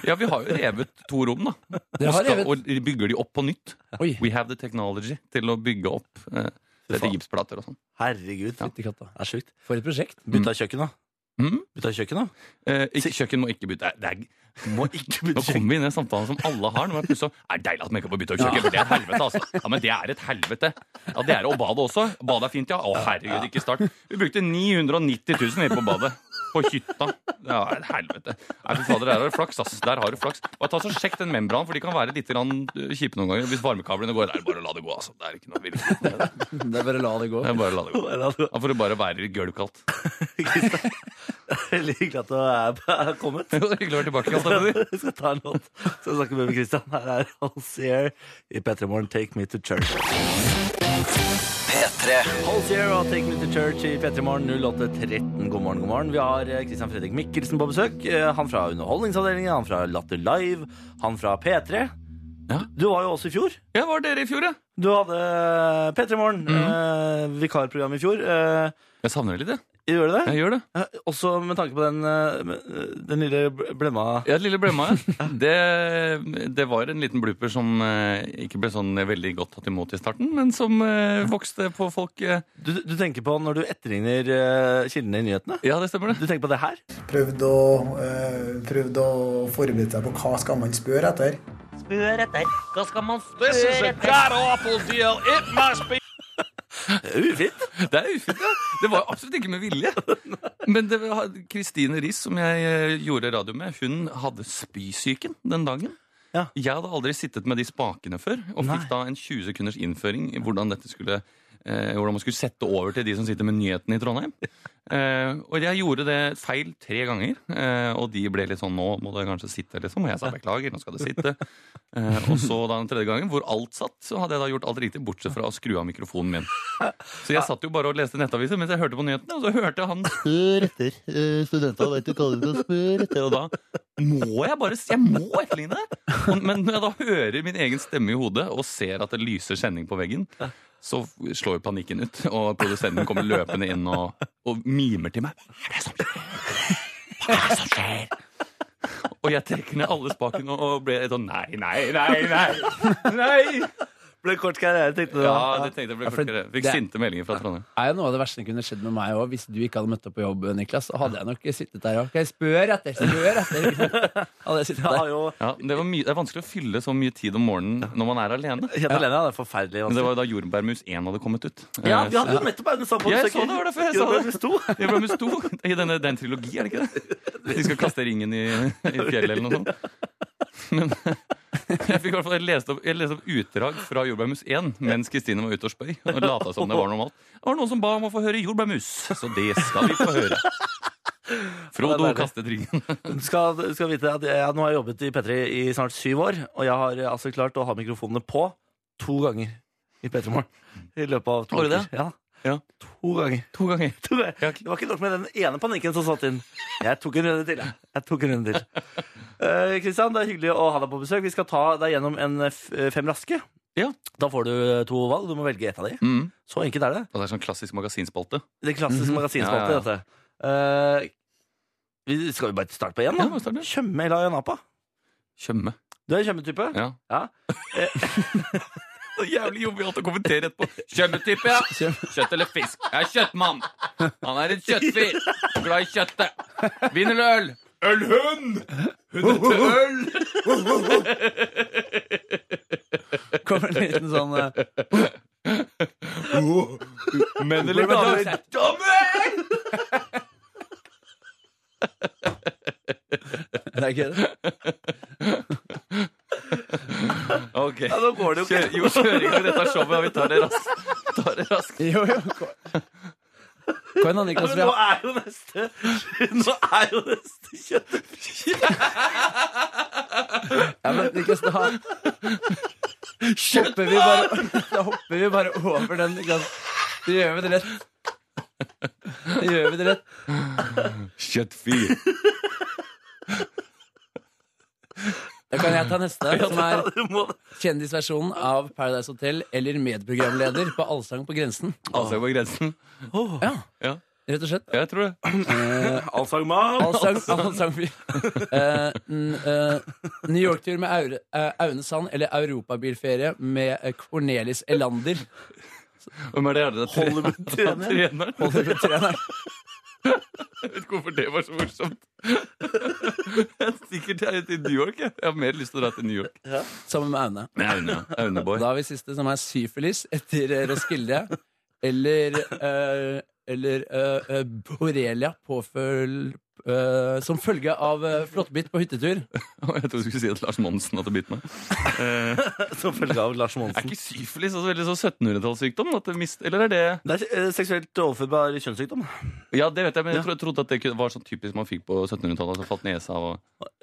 [SPEAKER 6] Ja, vi har jo revet to rom, da.
[SPEAKER 3] Dere
[SPEAKER 6] Og
[SPEAKER 3] har
[SPEAKER 6] skal-
[SPEAKER 3] revet.
[SPEAKER 6] Og bygger de opp på nytt.
[SPEAKER 3] Oi,
[SPEAKER 6] We have the technology til å bygge opp eh, dette
[SPEAKER 2] faen.
[SPEAKER 6] gipsplater og sånn.
[SPEAKER 2] Herregud, det
[SPEAKER 3] fytti katta.
[SPEAKER 2] er sjukt.
[SPEAKER 3] For et prosjekt.
[SPEAKER 2] Bytta kjøkken, da.
[SPEAKER 6] Mm.
[SPEAKER 2] Bytta kjøkken, da.
[SPEAKER 6] Eh, ikke, kjøkken må ikke bytte. Det er,
[SPEAKER 2] Må ikke
[SPEAKER 6] nå
[SPEAKER 2] bytte kjøkken.
[SPEAKER 6] kommer vi inn i den samtalen som alle har. Når man plutselig er det deilig at man ikke får bytte kjøkken, for det er et helvete, altså. Ja, men det er et helvete. Ja, det er det. Og badet også. Badet er fint, ja. Å, herregud, ikke start. Vi brukte 990 000 inne på badet. På hytta. Det er et helvete. Nei, fy fader, der har du flaks, ass. Der har du flaks. Og ta så Sjekk den membranen, for de kan være litt grann eh, kjipe noen ganger. Hvis varmekablene går, det er det bare å la det gå, altså. Det er ikke noe vilje. Det er
[SPEAKER 3] Det er bare å la det gå.
[SPEAKER 6] bare å la det gå.
[SPEAKER 2] Eller at du-
[SPEAKER 6] Da får det bare være gulvkaldt.
[SPEAKER 2] Veldig hyggelig at du er er kommet.
[SPEAKER 6] Det var hyggelig å være tilbake. Kasta Bror.
[SPEAKER 2] Vi skal ta en låt. Skal snakke med Christian. Her er Halsier i P3 Morgen, Take Me To Church.
[SPEAKER 1] P3.
[SPEAKER 2] Halsier og Take Me To Church i P3 Morgen 08.13. God morgen, god morgen. Vi har eh, Christian Fredrik Mikkelsen på besøk. Eh, Han fra Underholdningsavdelingen, han fra Latter Live, han fra P3.
[SPEAKER 6] Ja.
[SPEAKER 2] Du var jo også i fjor.
[SPEAKER 6] Ja, var dere i fjor, ja?
[SPEAKER 2] Du hadde P3 Morgen,
[SPEAKER 6] Mhm.
[SPEAKER 2] eh, vikarprogram i fjor. Eh,
[SPEAKER 6] Jeg savner det litt, jeg.
[SPEAKER 2] gjør du det?
[SPEAKER 6] Jeg gjør det.
[SPEAKER 2] Eh, også med tanke på den, eh, den lille bl- blemma
[SPEAKER 6] Ja, Lille Blemma, ja. Det, det var en liten blooper som eh, ikke ble sånn veldig godt tatt imot i starten, men som eh, vokste på folk. eh.
[SPEAKER 2] du, du tenker på når du etterligner eh, kildene i nyhetene?
[SPEAKER 6] Ja, det stemmer, det.
[SPEAKER 2] Du tenker på det her?
[SPEAKER 7] prøvd å, eh, prøvd å forberede seg på hva skal man spørre etter.
[SPEAKER 2] Ufint!
[SPEAKER 6] Det er ufint, ja. Det var absolutt ikke med vilje. Men det var- Kristine Riis, som jeg eh, gjorde radio med, hun hadde spysyken den dagen.
[SPEAKER 2] Ja.
[SPEAKER 6] Jeg hadde aldri sittet med de spakene før, og
[SPEAKER 2] Nei.
[SPEAKER 6] fikk da en 20 sekunders innføring i hvordan dette skulle eh, hvordan man skulle sette over til de som sitter med nyhetene i Trondheim. Eh, og jeg gjorde det feil tre ganger, eh, og de ble litt sånn 'Nå må det kanskje sitte', liksom. Og jeg sa 'beklager, nå skal det sitte'. Eh, og så da den tredje gangen, hvor alt satt, så hadde jeg da gjort alt riktig, bortsett fra å skru av mikrofonen min. Så jeg satt jo bare og leste nettaviser mens jeg hørte på nyhetene, og så hørte han spør etter. Studentene vet du kaller det spør etter. Og da må jeg bare Jeg må etterligne det! Og- Men når jeg da hører min egen stemme i hodet og ser at det lyser sending på veggen, så slår panikken ut, og produsenten kommer løpende inn og, og mimer til meg. Hva er det som skjer? Hva er det som skjer? Og jeg trekker ned alle spakene og- og ble sånn nei, nei, nei, nei. nei.
[SPEAKER 2] Ble kort karriere, tenkte du.
[SPEAKER 6] Ja, det tenkte jeg ble
[SPEAKER 3] Ja, for
[SPEAKER 6] kortere. Fikk
[SPEAKER 3] det-
[SPEAKER 6] sinte meldinger fra Trondheim.
[SPEAKER 3] er jo noe av det verste som kunne skjedd med meg òg. Hvis du ikke hadde møtt opp på jobb, Niklas, så hadde jeg nok sittet der og okay, spør etter, spør etter. ikke sant? Hadde jeg sittet
[SPEAKER 2] Jeg
[SPEAKER 3] der.
[SPEAKER 2] har jo
[SPEAKER 6] Ja, det, var mye, det er vanskelig å fylle så mye tid om morgenen når man er alene.
[SPEAKER 2] Helt alene, det er forferdelig
[SPEAKER 6] Men det
[SPEAKER 2] vanskelig.
[SPEAKER 6] var jo da Jordbærmus 1 hadde kommet ut.
[SPEAKER 2] Ja,
[SPEAKER 6] Eh,
[SPEAKER 2] vi hadde jo nettopp en sånn på
[SPEAKER 6] Jeg
[SPEAKER 2] besøk.
[SPEAKER 6] så det, det var derfor jeg sa
[SPEAKER 2] Jordbær
[SPEAKER 6] det.
[SPEAKER 2] Mus to.
[SPEAKER 6] så Jordbærmus 2 i denne, den trilogi, er det ikke det? De skal kaste ringen i, i fjellet eller noe sånt. Men jeg fikk i hvert fall jeg leste, opp, jeg leste opp utdrag fra Jordbærmus 1 mens Kristine var ute og spøy. Og lata som det var normalt. Det var noen som ba om å få høre Jordbærmus, så det skal vi få høre. Frodo kastet ringen.
[SPEAKER 2] Du skal, du skal vite at jeg, ja, Nå har jeg jobbet i P3 i snart syv år, og jeg har eh, altså klart å ha mikrofonene på to ganger i P3 Morgen. I løpet av to
[SPEAKER 6] Har du det?
[SPEAKER 2] Ja.
[SPEAKER 6] Ja.
[SPEAKER 2] To ganger.
[SPEAKER 6] To ganger.
[SPEAKER 2] To ganger.
[SPEAKER 6] Ja.
[SPEAKER 2] Det var ikke nok med den ene panikken som satt inn. Jeg tok en runde til. jeg. Jeg tok en runde til. Eh, Kristian, det er hyggelig å ha deg på besøk. Vi skal ta deg gjennom en eh, f- eh, fem raske.
[SPEAKER 6] Ja.
[SPEAKER 2] Da får du eh, to valg. Du må velge ett av de.
[SPEAKER 6] Mm.
[SPEAKER 2] Så enkelt er det.
[SPEAKER 6] Og det er sånn klassisk magasinspalte.
[SPEAKER 2] Det klassiske magasinspalte,
[SPEAKER 6] Mhm. Ja, ja.
[SPEAKER 2] dette. Eh, vi, skal vi bare starte på én,
[SPEAKER 6] Ja, bare
[SPEAKER 2] da?
[SPEAKER 6] start, ja.
[SPEAKER 2] Tjøme eller Ayanapa?
[SPEAKER 6] Tjømme.
[SPEAKER 2] Du er en tjømmetype.
[SPEAKER 6] Ja.
[SPEAKER 2] Ja.
[SPEAKER 6] Det er jævlig jovialt å kommentere etterpå. Kjømmetype, ja. Kjøtt eller fisk? Jeg er kjøttmann. Han er en kjøttfyr. Glad i kjøttet. Vin eller øl? Ølhund! Hunder til øl!
[SPEAKER 3] Kommer en liten sånn eh,
[SPEAKER 6] Menn eller damer? Dommer!
[SPEAKER 3] Det er ikke det.
[SPEAKER 6] Ok.
[SPEAKER 2] Ja, nå går det jo
[SPEAKER 6] Kjør,
[SPEAKER 2] ikke.
[SPEAKER 6] jo, kjøring til dette showet. ja, Vi tar det raskt. Tar det raskt.
[SPEAKER 3] Jo, jo. Kom kom igjen, da,
[SPEAKER 2] Ja,
[SPEAKER 3] Niklas.
[SPEAKER 2] men
[SPEAKER 3] Vi
[SPEAKER 2] nå
[SPEAKER 3] har,
[SPEAKER 2] er jo neste Nå er jo neste kjøttfyr.
[SPEAKER 3] ja, men, Niklas, da hopper vi bare, da hopper vi bare over den, Niklas. Det gjør vi det rett. Det gjør vi det rett.
[SPEAKER 6] Kjøttfyr.
[SPEAKER 3] Da kan jeg ta neste, som
[SPEAKER 2] Ja,
[SPEAKER 3] er
[SPEAKER 2] du må det.
[SPEAKER 3] kjendisversjonen av Paradise Hotel eller medprogramleder på Allsang på grensen.
[SPEAKER 6] Altså, på grensen.
[SPEAKER 3] Ja,
[SPEAKER 6] Ja,
[SPEAKER 3] rett og slett.
[SPEAKER 6] jeg tror det.
[SPEAKER 2] Allsangmann.
[SPEAKER 3] Allsang, allsang Eh, n- eh, New York-tur med Aure, eh, Aune Sand eller europabilferie med eh, Cornelis Elander.
[SPEAKER 6] Hvem er det? Er det
[SPEAKER 2] Hollywood-trener.
[SPEAKER 6] treneren?
[SPEAKER 3] Hollywood-treneren.
[SPEAKER 6] Jeg vet ikke hvorfor det var så morsomt. Jeg stikker til, til New York. Jeg. jeg har mer lyst til å dra til New York.
[SPEAKER 3] Sammen med Aune.
[SPEAKER 6] Men Aune, Auneboy.
[SPEAKER 3] Da har vi siste, som er syfilis etter eh, Roskilde. Eller, eh, eller eh, eh, borrelia påføl... eh, som følge av uh, flåttbitt på hyttetur.
[SPEAKER 6] Å, Jeg trodde du skulle si at Lars Monsen hadde bitt meg.
[SPEAKER 2] Som følge av Lars
[SPEAKER 6] Er
[SPEAKER 2] Monsen.
[SPEAKER 6] ikke syfilis altså, veldig sånn 1700-tallssykdom? At det mist- Eller er det
[SPEAKER 2] Det er eh, seksuelt overførbar kjønnssykdom.
[SPEAKER 6] Ja, det vet jeg, men jeg tro- trodde at det kunne- var sånn typisk man fikk på 1700-tallet. Altså falt nesa og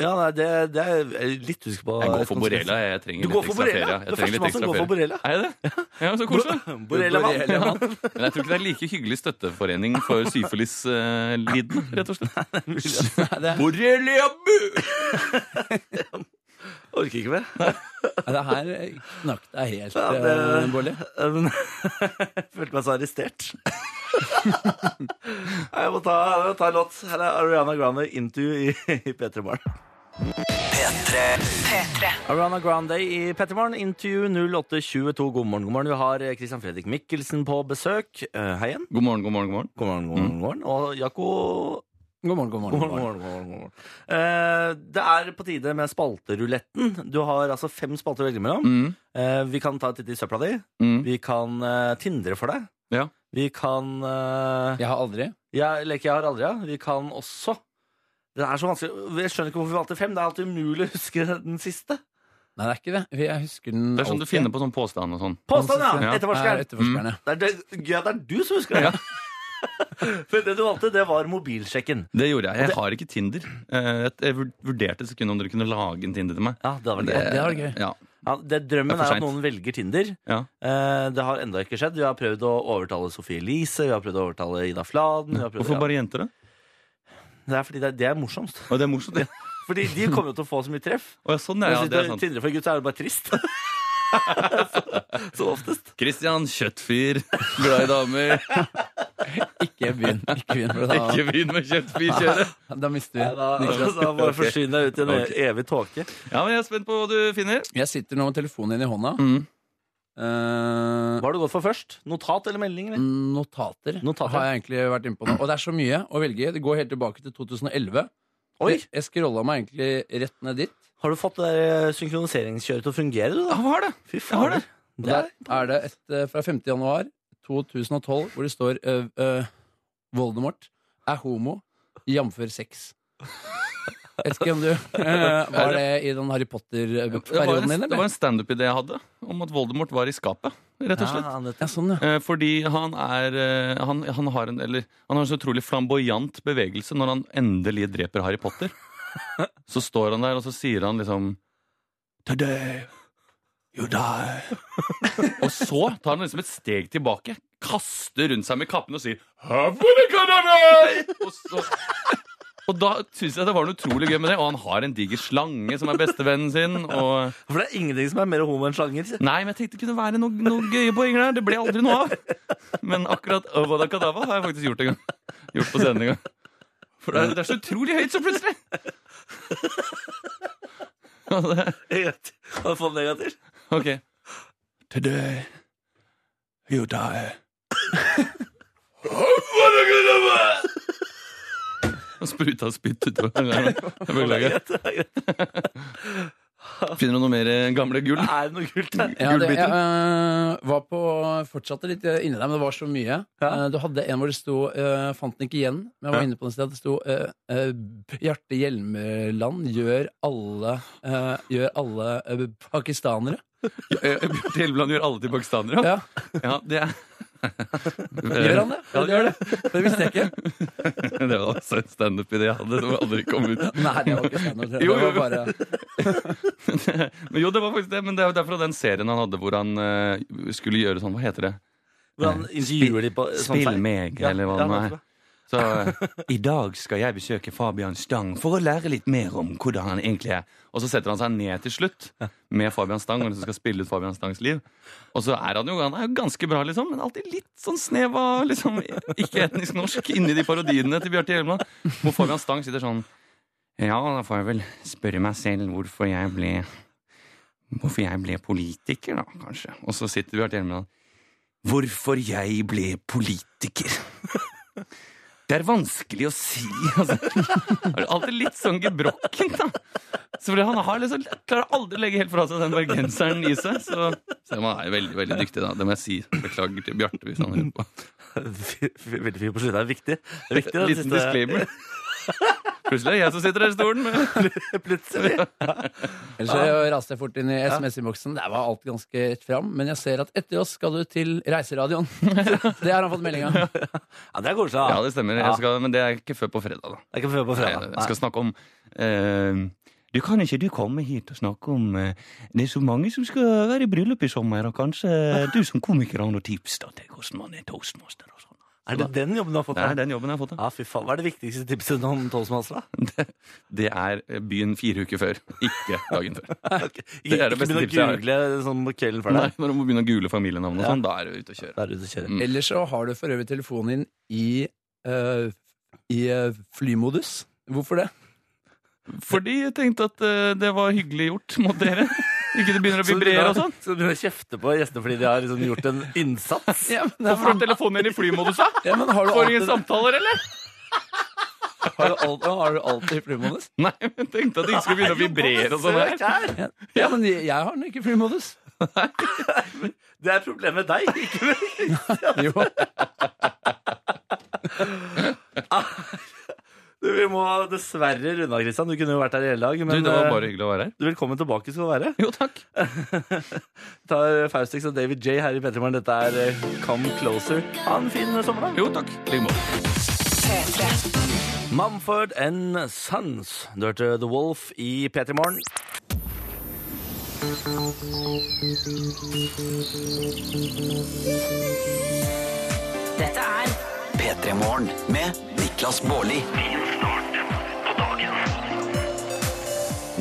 [SPEAKER 2] Ja, nei, det, det er jeg litt usikker på. eh,
[SPEAKER 6] Jeg går for borrelia.
[SPEAKER 2] Du
[SPEAKER 6] Jeg trenger
[SPEAKER 2] går
[SPEAKER 6] litt
[SPEAKER 2] for
[SPEAKER 6] ekstra ferie.
[SPEAKER 2] borrelia?
[SPEAKER 6] Jeg
[SPEAKER 2] Du er
[SPEAKER 6] trenger litt
[SPEAKER 2] førstemann som
[SPEAKER 6] ekstra
[SPEAKER 2] går for
[SPEAKER 6] ferie.
[SPEAKER 2] borrelia.
[SPEAKER 6] Er jeg det? Ja, men så koselig.
[SPEAKER 2] Borreliamann.
[SPEAKER 3] Borrelia-mann.
[SPEAKER 6] Men jeg tror ikke det er like hyggelig støtteforening for syfilis-lidene, rett og slett.
[SPEAKER 3] det,
[SPEAKER 6] Borrelia-bu!
[SPEAKER 2] Orker ikke mer.
[SPEAKER 3] det her eh, knakk deg helt,
[SPEAKER 2] Ja, det-
[SPEAKER 3] eh, Bolli.
[SPEAKER 2] Eh, Men jeg følte meg så arrestert. Nei, jeg må ta, jeg må ta en låt. Her er Ariana Grande 'Into' i, i P3 Morgen. Ariana Grande i P3 Morgen, Into 0822. God morgen, god morgen. Vi har eh, Christian Fredrik Mikkelsen på besøk. Eh, Hei igjen.
[SPEAKER 6] God morgen, god morgen, god
[SPEAKER 2] God morgen,
[SPEAKER 6] morgen.
[SPEAKER 2] god morgen. god morgen. Og Jako
[SPEAKER 3] God morgen, god morgen.
[SPEAKER 2] God morgen, god morgen, god morgen, god morgen. Eh, Det er på tide med spalteruletten. Du har altså fem spalter å velge mellom.
[SPEAKER 6] Mm,
[SPEAKER 2] Eh, Vi kan ta et titt i søpla di.
[SPEAKER 6] mm.
[SPEAKER 2] Vi kan eh, tindre for deg.
[SPEAKER 6] Ja.
[SPEAKER 2] Vi kan eh,
[SPEAKER 3] Jeg har aldri
[SPEAKER 2] jeg, Leke jeg har aldri, ja. Vi kan også Det er så vanskelig. Jeg skjønner ikke hvorfor vi valgte fem. Det er alltid umulig å huske den siste.
[SPEAKER 3] Nei, det er ikke det. For Jeg husker den
[SPEAKER 6] Det er sånn du finner på Mm. sånn påstand og sånn.
[SPEAKER 2] Påstand, ja!
[SPEAKER 6] Ja.
[SPEAKER 2] Etterforskeren.
[SPEAKER 3] Etterforskerne.
[SPEAKER 2] Det er, det, gøy at det er du som husker det. For det du valgte, det var mobilsjekken.
[SPEAKER 6] Det gjorde jeg. Jeg har ikke Tinder. Eh, Jeg jeg vur- vurderte et sekund om dere kunne lage en Tinder til meg.
[SPEAKER 2] Ja, det, var
[SPEAKER 6] Men
[SPEAKER 2] det,
[SPEAKER 3] det var gøy.
[SPEAKER 6] Ja,
[SPEAKER 2] ja, det Drømmen er,
[SPEAKER 6] Det er for
[SPEAKER 2] at
[SPEAKER 6] sent.
[SPEAKER 2] noen velger Tinder.
[SPEAKER 6] ja.
[SPEAKER 2] Eh, det har enda ikke skjedd. Vi har prøvd å overtale Sofie Elise, vi har prøvd å overtale Ida Fladen. Vi har prøvd,
[SPEAKER 6] Hvorfor bare jenter, da?
[SPEAKER 2] ja. Det er fordi det, er- det er morsomst.
[SPEAKER 6] Å, det er morsomt. det.
[SPEAKER 2] Fordi de kommer jo til å få så mye treff.
[SPEAKER 6] Å, ja, sånn, ja, ja,
[SPEAKER 2] Hvis du
[SPEAKER 6] det er sant.
[SPEAKER 2] tindrer for en gutt, så er det bare trist. så, som oftest.
[SPEAKER 6] Christian, kjøttfyr, glad i damer.
[SPEAKER 3] Ikke begynn. Ikke begynn for
[SPEAKER 6] Ikke
[SPEAKER 3] da,
[SPEAKER 6] begynn med kjøttfyrkjøret.
[SPEAKER 3] da mister vi
[SPEAKER 2] Da,
[SPEAKER 3] Niklas.
[SPEAKER 2] da bare forsyn deg ut i en evig tåke.
[SPEAKER 6] Ja, men jeg er spent på hva du finner.
[SPEAKER 3] Jeg sitter nå med telefonen din i hånda.
[SPEAKER 6] Mm.
[SPEAKER 3] Eh,
[SPEAKER 2] Hva har du gått for først? Notat eller melding? eller?
[SPEAKER 3] notater,
[SPEAKER 2] Notater.
[SPEAKER 3] har jeg egentlig vært inne på nå. Og det er så mye å velge i. Det går helt tilbake til 2011.
[SPEAKER 2] Oi!
[SPEAKER 3] Jeg, jeg scrolla meg egentlig rett ned dit.
[SPEAKER 2] Har du fått det der eh, synkroniseringskjøret til å fungere, du,
[SPEAKER 6] Ja,
[SPEAKER 2] da?
[SPEAKER 6] hva er det?
[SPEAKER 2] Fy
[SPEAKER 6] har det.
[SPEAKER 2] fader.
[SPEAKER 3] Og
[SPEAKER 2] Det
[SPEAKER 3] der
[SPEAKER 2] er-
[SPEAKER 3] er det et eh, fra 5. januar 2012 hvor det står eh, eh, Voldemort er homo, jf. sex. Jeg vet ikke om du eh, Var det i den Harry
[SPEAKER 6] Det var
[SPEAKER 3] Potter-perioden
[SPEAKER 6] en,
[SPEAKER 3] din,
[SPEAKER 6] det var
[SPEAKER 3] eller?
[SPEAKER 6] en standup-idé jeg hadde om at Voldemort var i skapet, rett og slett.
[SPEAKER 2] Ja, nettopp.
[SPEAKER 3] Ja, sånn, ja.
[SPEAKER 6] Eh, Fordi han er eh, han, han, har en, eller, han har en så utrolig flamboyant bevegelse når han endelig dreper Harry Potter. Så står han der, og så sier han liksom Today you die. Og så tar han liksom et steg tilbake, kaster rundt seg med kappen og sier Have a good day! Og, så, og da syns jeg det var noe utrolig gøy med det. Og han har en diger slange som er bestevennen sin. og...
[SPEAKER 2] For det er ingenting som er mer homo enn slanger.
[SPEAKER 6] Nei, men jeg tenkte det kunne være noen noe gøye poenger der. Det ble aldri noe av. Men akkurat Avada Kadava har jeg faktisk gjort en gang. Gjort på scenen en gang. For det er, det er så utrolig høyt så plutselig. Ja, det-
[SPEAKER 2] Har du fått negativt?
[SPEAKER 6] Ok. Today you die. Avada Kedavra! Og spruta spytt utover. Jeg Beklager.
[SPEAKER 2] Det er greit.
[SPEAKER 6] Finner du noe mer eh, gamle gull?
[SPEAKER 2] Er det noe kult der?
[SPEAKER 3] Ja, det, jeg eh, var på, fortsatte litt inni deg, men det var så mye.
[SPEAKER 2] Ja.
[SPEAKER 3] Eh, du hadde en hvor det sto eh, Fant den ikke igjen, men jeg var
[SPEAKER 6] Ja.
[SPEAKER 3] inne på den stedet. Det sto eh, eh, Bjarte Hjelmeland gjør alle, eh, gjør alle eh, pakistanere.
[SPEAKER 6] Eh, Bjarte Helmeland gjør alle til pakistanere.
[SPEAKER 3] Ja.
[SPEAKER 6] Ja, det er
[SPEAKER 3] Gjør han det? Ja, det gjør det. Det visste jeg ikke.
[SPEAKER 6] Det var altså en standup-idé jeg hadde som aldri kom ut.
[SPEAKER 3] Nei, det var ikke standup. Det
[SPEAKER 6] Jo,
[SPEAKER 3] var
[SPEAKER 6] jo, jo.
[SPEAKER 3] bare
[SPEAKER 6] Men jo, det var faktisk det, men det er jo derfor den serien han hadde hvor han eh, skulle gjøre sånn, hva heter det?
[SPEAKER 2] Hvordan intervjuer de på sånn feil?
[SPEAKER 6] meg,
[SPEAKER 2] Ja, ja, nettopp, ja.
[SPEAKER 6] Så eh, i dag skal jeg besøke Fabian Stang for å lære litt mer om hvordan han egentlig er. Og så setter han seg ned til slutt med Fabian Stang og liksom skal spille ut Fabian Stangs liv. Og så er han jo han er jo ganske bra, liksom, men alltid litt sånn snev av liksom, ikke-etnisk norsk inni de parodiene til Bjarte Hjelmeland. Hvor Fabian Stang sitter sånn Ja, da får jeg vel spørre meg selv hvorfor jeg ble Hvorfor jeg ble politiker, da, kanskje. Og så sitter Bjarte Hjelmeland Hvorfor jeg ble politiker. Det er vanskelig å si, altså. Det er alltid litt sånn gebrokkent, da. Så fordi han har liksom, klarer aldri å legge helt fra seg den bergenseren i seg. Så, så han er jo veldig veldig dyktig, da. Det må jeg si. Beklager til Bjarte hvis han hører på.
[SPEAKER 2] Fy- fy- Veldig fint på slutten. Det er viktig. Det er viktig den
[SPEAKER 6] Liten
[SPEAKER 2] siste-
[SPEAKER 6] disclaimer. Plutselig er det jeg som sitter her i stolen. Men...
[SPEAKER 2] Plutselig.
[SPEAKER 3] Ellers så raste jeg fort inn i SMS-innboksen. Der var alt ganske rett fram. Men jeg ser at etter oss skal du til Reiseradioen. Det har han fått melding av.
[SPEAKER 2] Ja, det er koselig.
[SPEAKER 6] Ja,
[SPEAKER 2] da.
[SPEAKER 6] det stemmer.
[SPEAKER 2] Ja.
[SPEAKER 6] Jeg skal, men det er ikke før på fredag, da.
[SPEAKER 2] Det er ikke før på
[SPEAKER 6] Nei,
[SPEAKER 2] fredag.
[SPEAKER 6] Jeg skal snakke om eh, Du kan ikke du komme hit og snakke om eh, Det er så mange som skal være i bryllup i sommer, og kanskje du som komiker har noen tips da, til hvordan man er toastmaster og sånn.
[SPEAKER 2] Nei. Er det den jobben du har fått?
[SPEAKER 6] Det
[SPEAKER 2] da?
[SPEAKER 6] er den jobben jeg har fått. da.
[SPEAKER 2] Ja, fy faen. Hva er det viktigste tipset om toastmaster? da?
[SPEAKER 6] Det er eh, byen fire uker før, ikke dagen før.
[SPEAKER 2] Ikke ikke
[SPEAKER 6] er det beste
[SPEAKER 2] begynn å
[SPEAKER 6] tipset jeg har.
[SPEAKER 2] google sånn på kvelden før
[SPEAKER 6] Nei,
[SPEAKER 2] deg.
[SPEAKER 6] Når du må begynne å gule familienavn og sånn, da er du ute å kjøre.
[SPEAKER 2] Da er du ute og kjører.
[SPEAKER 6] Mm.
[SPEAKER 3] Ellers så har du for øvrig telefonen din i, eh, i eh, flymodus. Hvorfor det?
[SPEAKER 6] Fordi jeg tenkte at eh, det var hyggelig gjort mot dere. Ikke det begynner å vibrere og sånn.
[SPEAKER 2] Så du begynner å kjefte på gjestene fordi de har liksom gjort en innsats?
[SPEAKER 3] Ja, men, det er
[SPEAKER 6] Hvorfor har telefonen din i flymodus, da?
[SPEAKER 3] ja, men har, du
[SPEAKER 6] Får ingen
[SPEAKER 3] alltid,
[SPEAKER 6] samtaler, eller?
[SPEAKER 3] har, du alltid, har du alltid flymodus?
[SPEAKER 6] Nei, men tenkte at det ikke skulle begynne å vibrere og sånn her.
[SPEAKER 2] her.
[SPEAKER 3] Ja, men jeg jeg har den ikke i flymodus.
[SPEAKER 2] Det er problemet med deg. ikke med-
[SPEAKER 3] Jo.
[SPEAKER 2] Du, vi må dessverre runde av, Kristian. Du kunne jo vært her i hele dag.
[SPEAKER 6] Du,
[SPEAKER 2] Men
[SPEAKER 6] det var
[SPEAKER 2] eh,
[SPEAKER 6] bare hyggelig å være her.
[SPEAKER 2] du, velkommen tilbake skal du være.
[SPEAKER 6] Jo, takk.
[SPEAKER 2] Vi tar Faustix og David J her i Petremorgen. Dette er eh, Come Closer. Ha en fin sommerdag.
[SPEAKER 6] Jo, takk. I like måte.
[SPEAKER 2] Mumford and Sons. Du hørte The Wolf i P3 Morgen.
[SPEAKER 4] Dette er
[SPEAKER 1] P3 Morgen med Niklas Baarli.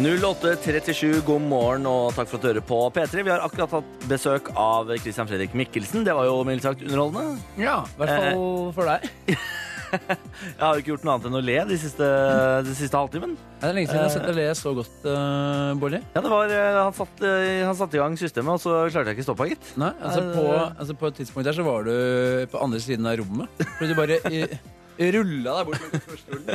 [SPEAKER 2] 0837, god morgen og takk for at du hører på P3. Vi har akkurat hatt besøk av Christian Fredrik Mikkelsen. Det var jo mildt sagt underholdende.
[SPEAKER 3] Ja, i hvert fall for deg.
[SPEAKER 2] Jeg har jo ikke gjort noe annet enn å le de siste, de siste halvtimen.
[SPEAKER 3] Det er lenge siden jeg har sett deg le så godt, uh, Bolli.
[SPEAKER 2] Ja, det var, eh, han satte han satt i gang systemet, og så klarte jeg ikke stoppa, gitt.
[SPEAKER 3] Nei, altså
[SPEAKER 2] Nei,
[SPEAKER 3] på,
[SPEAKER 2] det-
[SPEAKER 3] altså på et tidspunkt der så var du på andre siden av rommet. Fordi du bare i, rulla deg bort mot stolen.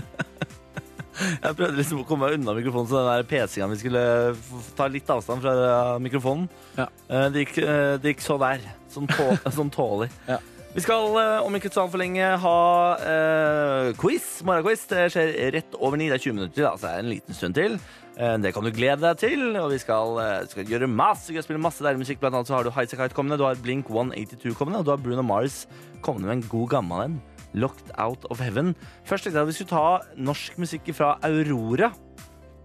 [SPEAKER 2] Jeg prøvde liksom å komme meg unna mikrofonen, så den der pesinga vi skulle f- ta litt avstand fra eh, mikrofonen,
[SPEAKER 3] Ja.
[SPEAKER 2] Eh, det, gikk, eh, det gikk så der. Sånn, tå, sånn tålig.
[SPEAKER 3] Ja.
[SPEAKER 2] Vi skal eh, om ikke så altfor lenge ha eh, quiz. Morgenquiz. Det skjer rett over ni. Det er 20 minutter til, da, så det er en liten stund til. Eh, det kan du glede deg til. Og vi skal, eh, skal gjøre masse gøy, spille masse deilig musikk. Blant annet så har du Highasakite kommende, du har Blink 182 kommende, og du har Bruno Mars kommende med en god gammel en. Locked Out of Heaven. Først tenkte jeg at vi skulle ta norsk musikk fra Aurora.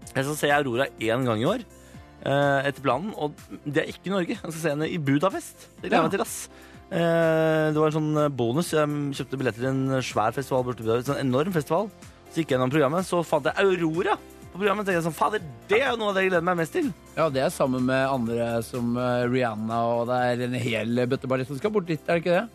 [SPEAKER 2] Jeg skal se Aurora én gang i år eh, etter planen, og det er ikke i Norge. Jeg skal se henne i Budapest. Det gleder jeg meg til, ass. Eh, det var en sånn eh, bonus. Jeg mm, kjøpte billetter til en svær festival borte i Budapest. En enorm festival. Så gikk jeg gjennom programmet, så fant jeg Aurora på programmet. tenkte jeg sånn, fader, Det er jo noe av det jeg gleder meg mest til.
[SPEAKER 3] Ja, det er sammen med andre som eh, Rihanna, og det er en hel bøtteballett som skal bort dit, er det ikke det?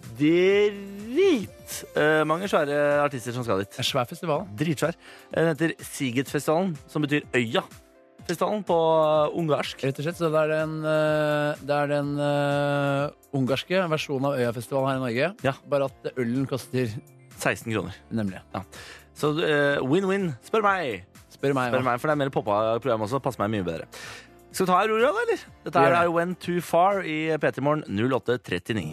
[SPEAKER 2] Drit eh, mange svære artister som skal dit.
[SPEAKER 3] Det er svær festival.
[SPEAKER 2] Dritsvær. Eh, Den heter Sigetfestivalen, som betyr Øya-festivalen på eh, ungarsk.
[SPEAKER 3] Rett og slett, så det er den, eh, det er den eh, ungarske versjonen av Øyafestivalen her i Norge.
[SPEAKER 2] Ja.
[SPEAKER 3] Bare at ølen koster
[SPEAKER 2] 16 kroner.
[SPEAKER 3] nemlig.
[SPEAKER 2] Så eh, win-win, spør meg.
[SPEAKER 3] Spør meg.
[SPEAKER 2] Spør
[SPEAKER 3] hva.
[SPEAKER 2] meg, For det er mer poppa program også. Passer meg mye bedre. Skal vi ta Aurora, da, eller? Dette er
[SPEAKER 3] Gjør det.
[SPEAKER 2] I Went Too Far i P3 Morgen 08.39.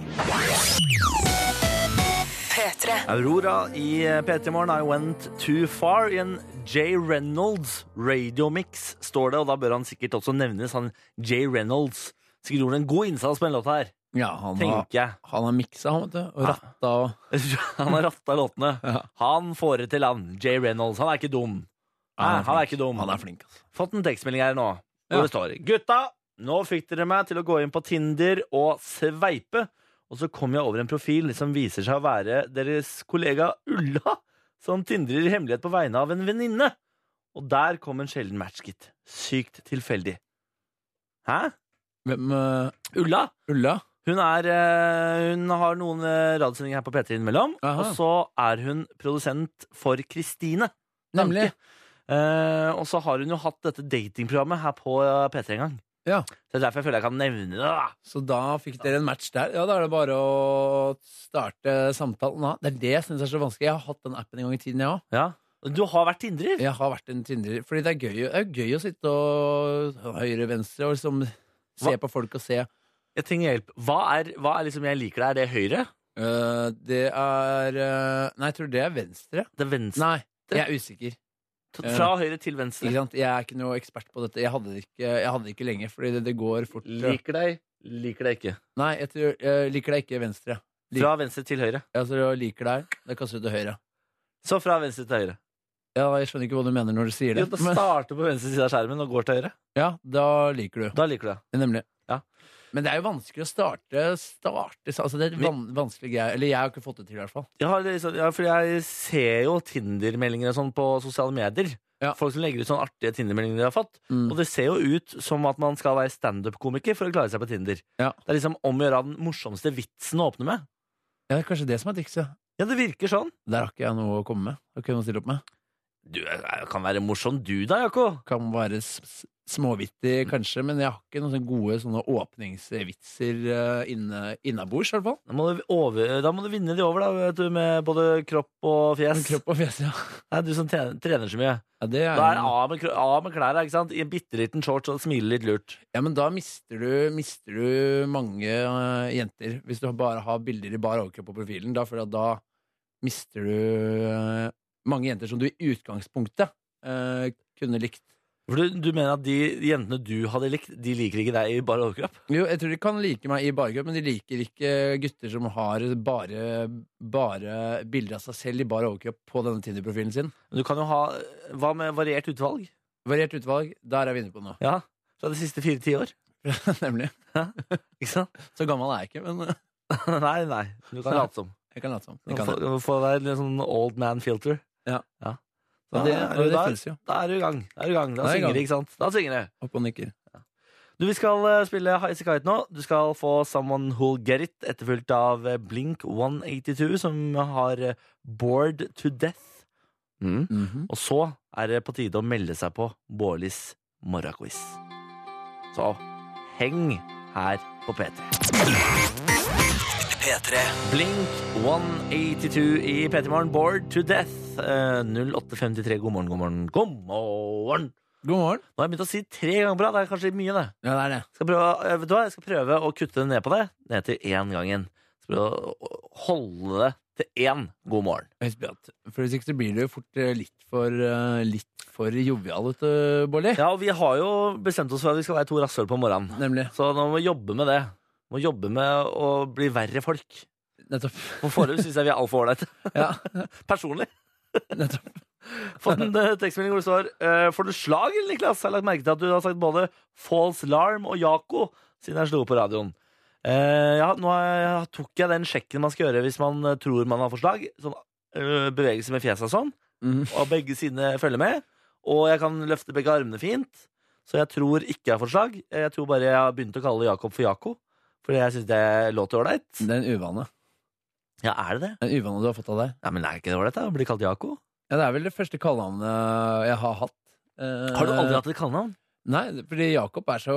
[SPEAKER 4] P3.
[SPEAKER 2] Aurora i P3 Morgen, I Went Too Far i en J. Reynolds radiomix, står det. Og da bør han sikkert også nevnes, han J. Reynolds. Sikkert gjorde en god innsats på den låta her,
[SPEAKER 3] Ja, han har,
[SPEAKER 2] tenker jeg.
[SPEAKER 3] han har miksa, han, vet du. Og
[SPEAKER 2] Ja.
[SPEAKER 3] ratta og
[SPEAKER 2] Han har ratta låtene.
[SPEAKER 3] Ja.
[SPEAKER 2] Han får det til, han. J. Reynolds. Han er ikke dum. Nei, han er ikke dum.
[SPEAKER 3] Han er flink, altså.
[SPEAKER 2] fått en tekstmelding her nå, hvor
[SPEAKER 3] Ja.
[SPEAKER 2] Mm. det står Gutta, nå fikk dere meg til å gå inn på Tinder og sveipe. Og så kom jeg over en profil som viser seg å være deres kollega Ulla, som tindrer i hemmelighet på vegne av en venninne. Og der kom en sjelden match, gitt. Sykt tilfeldig. Hæ?
[SPEAKER 3] Hvem eh,
[SPEAKER 2] Ulla?
[SPEAKER 3] Ulla?
[SPEAKER 2] Hun, er, eh, hun har noen eh, radiosendinger her på P3 innimellom.
[SPEAKER 3] Aha.
[SPEAKER 2] Og så er hun produsent for Kristine. Danke.
[SPEAKER 3] Nemlig.
[SPEAKER 2] Eh, og så har hun jo hatt dette datingprogrammet her på eh, P3 en gang.
[SPEAKER 3] Ja.
[SPEAKER 2] Så Det er derfor jeg føler jeg kan nevne det. da.
[SPEAKER 3] Så da fikk dere en match der. Ja, da er det bare å starte samtalen. da. Det er det jeg syns er så vanskelig. Jeg har hatt den appen en gang i tiden, jeg òg.
[SPEAKER 2] Ja. Du har vært tindrer.
[SPEAKER 3] Jeg har vært en Tinder. Fordi det er gøy, det er gøy å sitte og høyre-venstre og liksom se
[SPEAKER 2] Hva?
[SPEAKER 3] på folk og se.
[SPEAKER 2] Jeg trenger hjelp. Hva er, hva er liksom jeg liker deg? Er det høyre?
[SPEAKER 3] Eh, det er eh, Nei, jeg tror det er venstre.
[SPEAKER 2] Det er venstre.
[SPEAKER 3] Nei, jeg er usikker.
[SPEAKER 2] T- Fra høyre til venstre.
[SPEAKER 3] Ikke sant? Jeg er ikke noe ekspert på dette. Jeg hadde det ikke, jeg hadde det ikke lenge, fordi det, det går fort.
[SPEAKER 2] Liker deg, liker deg ikke.
[SPEAKER 3] Nei, jeg tror, jeg liker deg ikke venstre. Lik-
[SPEAKER 2] Fra venstre til høyre.
[SPEAKER 3] Altså, jeg liker deg, da kaster du til høyre.
[SPEAKER 2] Så fra venstre til høyre.
[SPEAKER 3] Ja, jeg skjønner ikke hva du mener når du sier
[SPEAKER 2] Jo,
[SPEAKER 3] det.
[SPEAKER 2] da
[SPEAKER 3] men-
[SPEAKER 2] starter på venstre side av skjermen og går til høyre.
[SPEAKER 3] Ja, da liker du.
[SPEAKER 2] Da liker du det.
[SPEAKER 3] Nemlig.
[SPEAKER 2] Ja.
[SPEAKER 3] Men det er jo vanskelig å starte, starte altså Det er et van vanskelig greie. Eller jeg har ikke fått det til, i hvert fall.
[SPEAKER 2] Jeg, har liksom, ja, for jeg ser jo Tinder-meldinger og sånn på sosiale medier.
[SPEAKER 3] Ja. Mm.
[SPEAKER 2] Folk som legger ut sånne artige Tinder-meldinger de har fått. Og det ser jo ut som at man skal være standup-komiker for å klare seg på Tinder.
[SPEAKER 3] Ja.
[SPEAKER 2] Det er liksom om å gjøre den morsomste vitsen å åpne med.
[SPEAKER 3] Ja, det er kanskje det som er trikset.
[SPEAKER 2] Ja, det virker sånn.
[SPEAKER 3] Der har ikke jeg noe å komme med. Har ikke noe å stille opp med.
[SPEAKER 2] Du jeg kan være morsom du da, Jako.
[SPEAKER 3] Kan være s- s- småvittig, kanskje, men jeg har ikke noen sånne gode sånne åpningsvitser eh, inne, innabords, i hvert fall.
[SPEAKER 2] Da må, du over, da må du vinne de over, da, vet du, med både kropp og fjes.
[SPEAKER 3] Kropp og fjes, ja.
[SPEAKER 2] Det er du som trener, trener så mye.
[SPEAKER 3] Ja, det er,
[SPEAKER 2] Da er det av med, kro- av med klærne, ikke sant? I en bitte liten shorts og smile litt lurt.
[SPEAKER 3] ja, men da mister du, mister du mange eh, jenter. Hvis du bare har bilder i bar overkropp på profilen, da føler jeg at da mister du eh, mange jenter som du i utgangspunktet eh, kunne likt.
[SPEAKER 2] For du, du mener at de jentene du hadde likt, de liker ikke deg i bar overkropp?
[SPEAKER 3] Jo, jeg tror de kan like meg i barkropp, men de liker ikke gutter som har bare, bare bilder av seg selv i bar overkropp på denne Tinder-profilen sin.
[SPEAKER 2] Men Du kan jo ha Hva med variert utvalg?
[SPEAKER 3] Variert utvalg, der er vi inne på nå.
[SPEAKER 2] Ja. Fra de siste fire-ti år.
[SPEAKER 3] Nemlig.
[SPEAKER 2] Ikke sant?
[SPEAKER 3] Så gammel er jeg ikke, men eh,
[SPEAKER 2] nei, nei. Du kan late som.
[SPEAKER 3] jeg kan late som.
[SPEAKER 2] Du
[SPEAKER 3] Jeg kan det.
[SPEAKER 2] Få, få deg litt sånn old man filter.
[SPEAKER 3] Ja.
[SPEAKER 2] Da,
[SPEAKER 3] det-
[SPEAKER 2] er
[SPEAKER 3] det
[SPEAKER 2] du der.
[SPEAKER 3] føles jo.
[SPEAKER 2] da er du i gang. Da er du i gang. Da
[SPEAKER 3] Da er jeg i
[SPEAKER 2] synger
[SPEAKER 3] gang.
[SPEAKER 2] det, ikke sant? Da synger det.
[SPEAKER 3] Opp og nikker.
[SPEAKER 2] Du, Vi skal eh, spille Highasakite nå. Du skal få Someone Who'll Get It, etterfulgt av eh, Blink 182, som har eh, Bored to Death. Mm.
[SPEAKER 3] Mhm.
[SPEAKER 2] Og så er det på tide å melde seg på Bårlis morgenquiz. Så heng her på P3.
[SPEAKER 1] P3.
[SPEAKER 2] Blink 182 i P3 Morgen, Bored to Death. Eh, 0853, god morgen, god morgen, god morgen.
[SPEAKER 3] God morgen.
[SPEAKER 2] Nå har jeg begynt å si tre ganger på rad. Det er kanskje mye, det.
[SPEAKER 3] Ja, det er det.
[SPEAKER 2] Skal prøve, eh, vet du hva? Jeg skal prøve å kutte det ned på det, ned til én gangen. Skal prøve å å holde det til én god morgen.
[SPEAKER 3] Husk på at- For hvis ikke så blir du jo fort eh, litt for, eh, litt for jovial, vet du, Bolli.
[SPEAKER 2] Ja, og vi har jo bestemt oss for at vi skal være to rasshøl på morgenen.
[SPEAKER 3] Nemlig.
[SPEAKER 2] Så nå må vi jobbe med det. Må jobbe med å bli verre folk.
[SPEAKER 3] Nettopp.
[SPEAKER 2] For foreløpig syns jeg vi er altfor ålreite.
[SPEAKER 3] Ja,
[SPEAKER 2] Personlig.
[SPEAKER 3] nettopp.
[SPEAKER 2] Fått en eh, tekstmelding hvor det står eh, Får du slag, eller, Niklas? Jeg har lagt merke til at du har sagt både False Larm og Jaco siden jeg slo på radioen. Eh, ja, nå har jeg, tok jeg den sjekken man skal gjøre hvis man eh, tror man har forslag. Sånn eh, bevegelse med fjeset og sånn.
[SPEAKER 3] Mhm.
[SPEAKER 2] Og begge sidene følger med. Og jeg kan løfte begge armene fint. Så jeg tror ikke jeg har forslag. Eh, Jeg tror bare jeg har begynt å kalle Jakob for Jaco. Fordi jeg syns det låter ålreit.
[SPEAKER 3] Det er en uvane.
[SPEAKER 2] Ja, er det det?
[SPEAKER 3] En uvane du har fått av deg.
[SPEAKER 2] Ja, men er ikke det ålreit da, å bli kalt Jaco?
[SPEAKER 3] Ja, det er vel det første kallenavnet jeg har hatt. Eh,
[SPEAKER 2] Har du aldri hatt et kallenavn?
[SPEAKER 3] Nei, fordi Jakob er så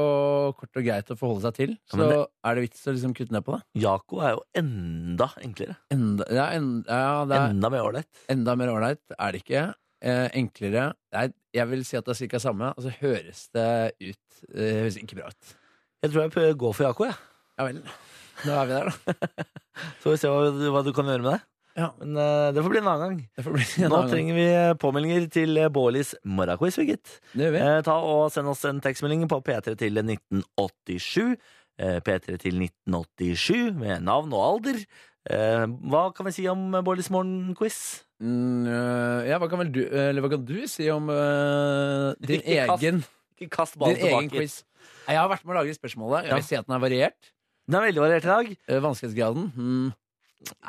[SPEAKER 3] kort og greit å forholde seg til.
[SPEAKER 2] Ja,
[SPEAKER 3] Så
[SPEAKER 2] men
[SPEAKER 3] er det vits å liksom kutte ned på det?
[SPEAKER 2] Jaco er jo enda enklere.
[SPEAKER 3] Enda, ja, en- ja, det er
[SPEAKER 2] Enda mer ålreit.
[SPEAKER 3] enda mer ålreit, er det ikke? Eh, enklere. Nei, jeg vil si at det er cirka samme, og så høres det ut eh, Det høres ikke bra ut.
[SPEAKER 2] Jeg tror jeg prøver å gå for Jaco, jeg.
[SPEAKER 3] Ja vel. Nå er vi der, da.
[SPEAKER 2] Så får vi se hva, du- hva du kan gjøre med det.
[SPEAKER 3] Ja.
[SPEAKER 2] Men eh, det får bli en annen gang.
[SPEAKER 3] Det får bli en annen
[SPEAKER 2] Nå
[SPEAKER 3] gang.
[SPEAKER 2] trenger vi eh, påmeldinger til eh, Bårlis morgenquiz, vi, gitt.
[SPEAKER 3] Det gjør vi.
[SPEAKER 2] Eh, ta og send oss en tekstmelding på P3 til 1987. Eh, P3 til 1987 med navn og alder. Eh, hva kan vi si om eh, Bårlis morgenquiz?
[SPEAKER 3] Mm, øh, ja, hva kan vel du Eller hva kan du si om øh, din
[SPEAKER 2] Ikke kast
[SPEAKER 3] egen,
[SPEAKER 2] Ikke kast
[SPEAKER 3] din
[SPEAKER 2] ballen
[SPEAKER 3] egen
[SPEAKER 2] tilbake.
[SPEAKER 3] quiz? Nei, Jeg har vært med å lage spørsmålet. Jeg
[SPEAKER 2] Ja.
[SPEAKER 3] vil si at den er variert.
[SPEAKER 2] Den er veldig variert i dag.
[SPEAKER 3] Eh, Vanskelighetsgraden mm,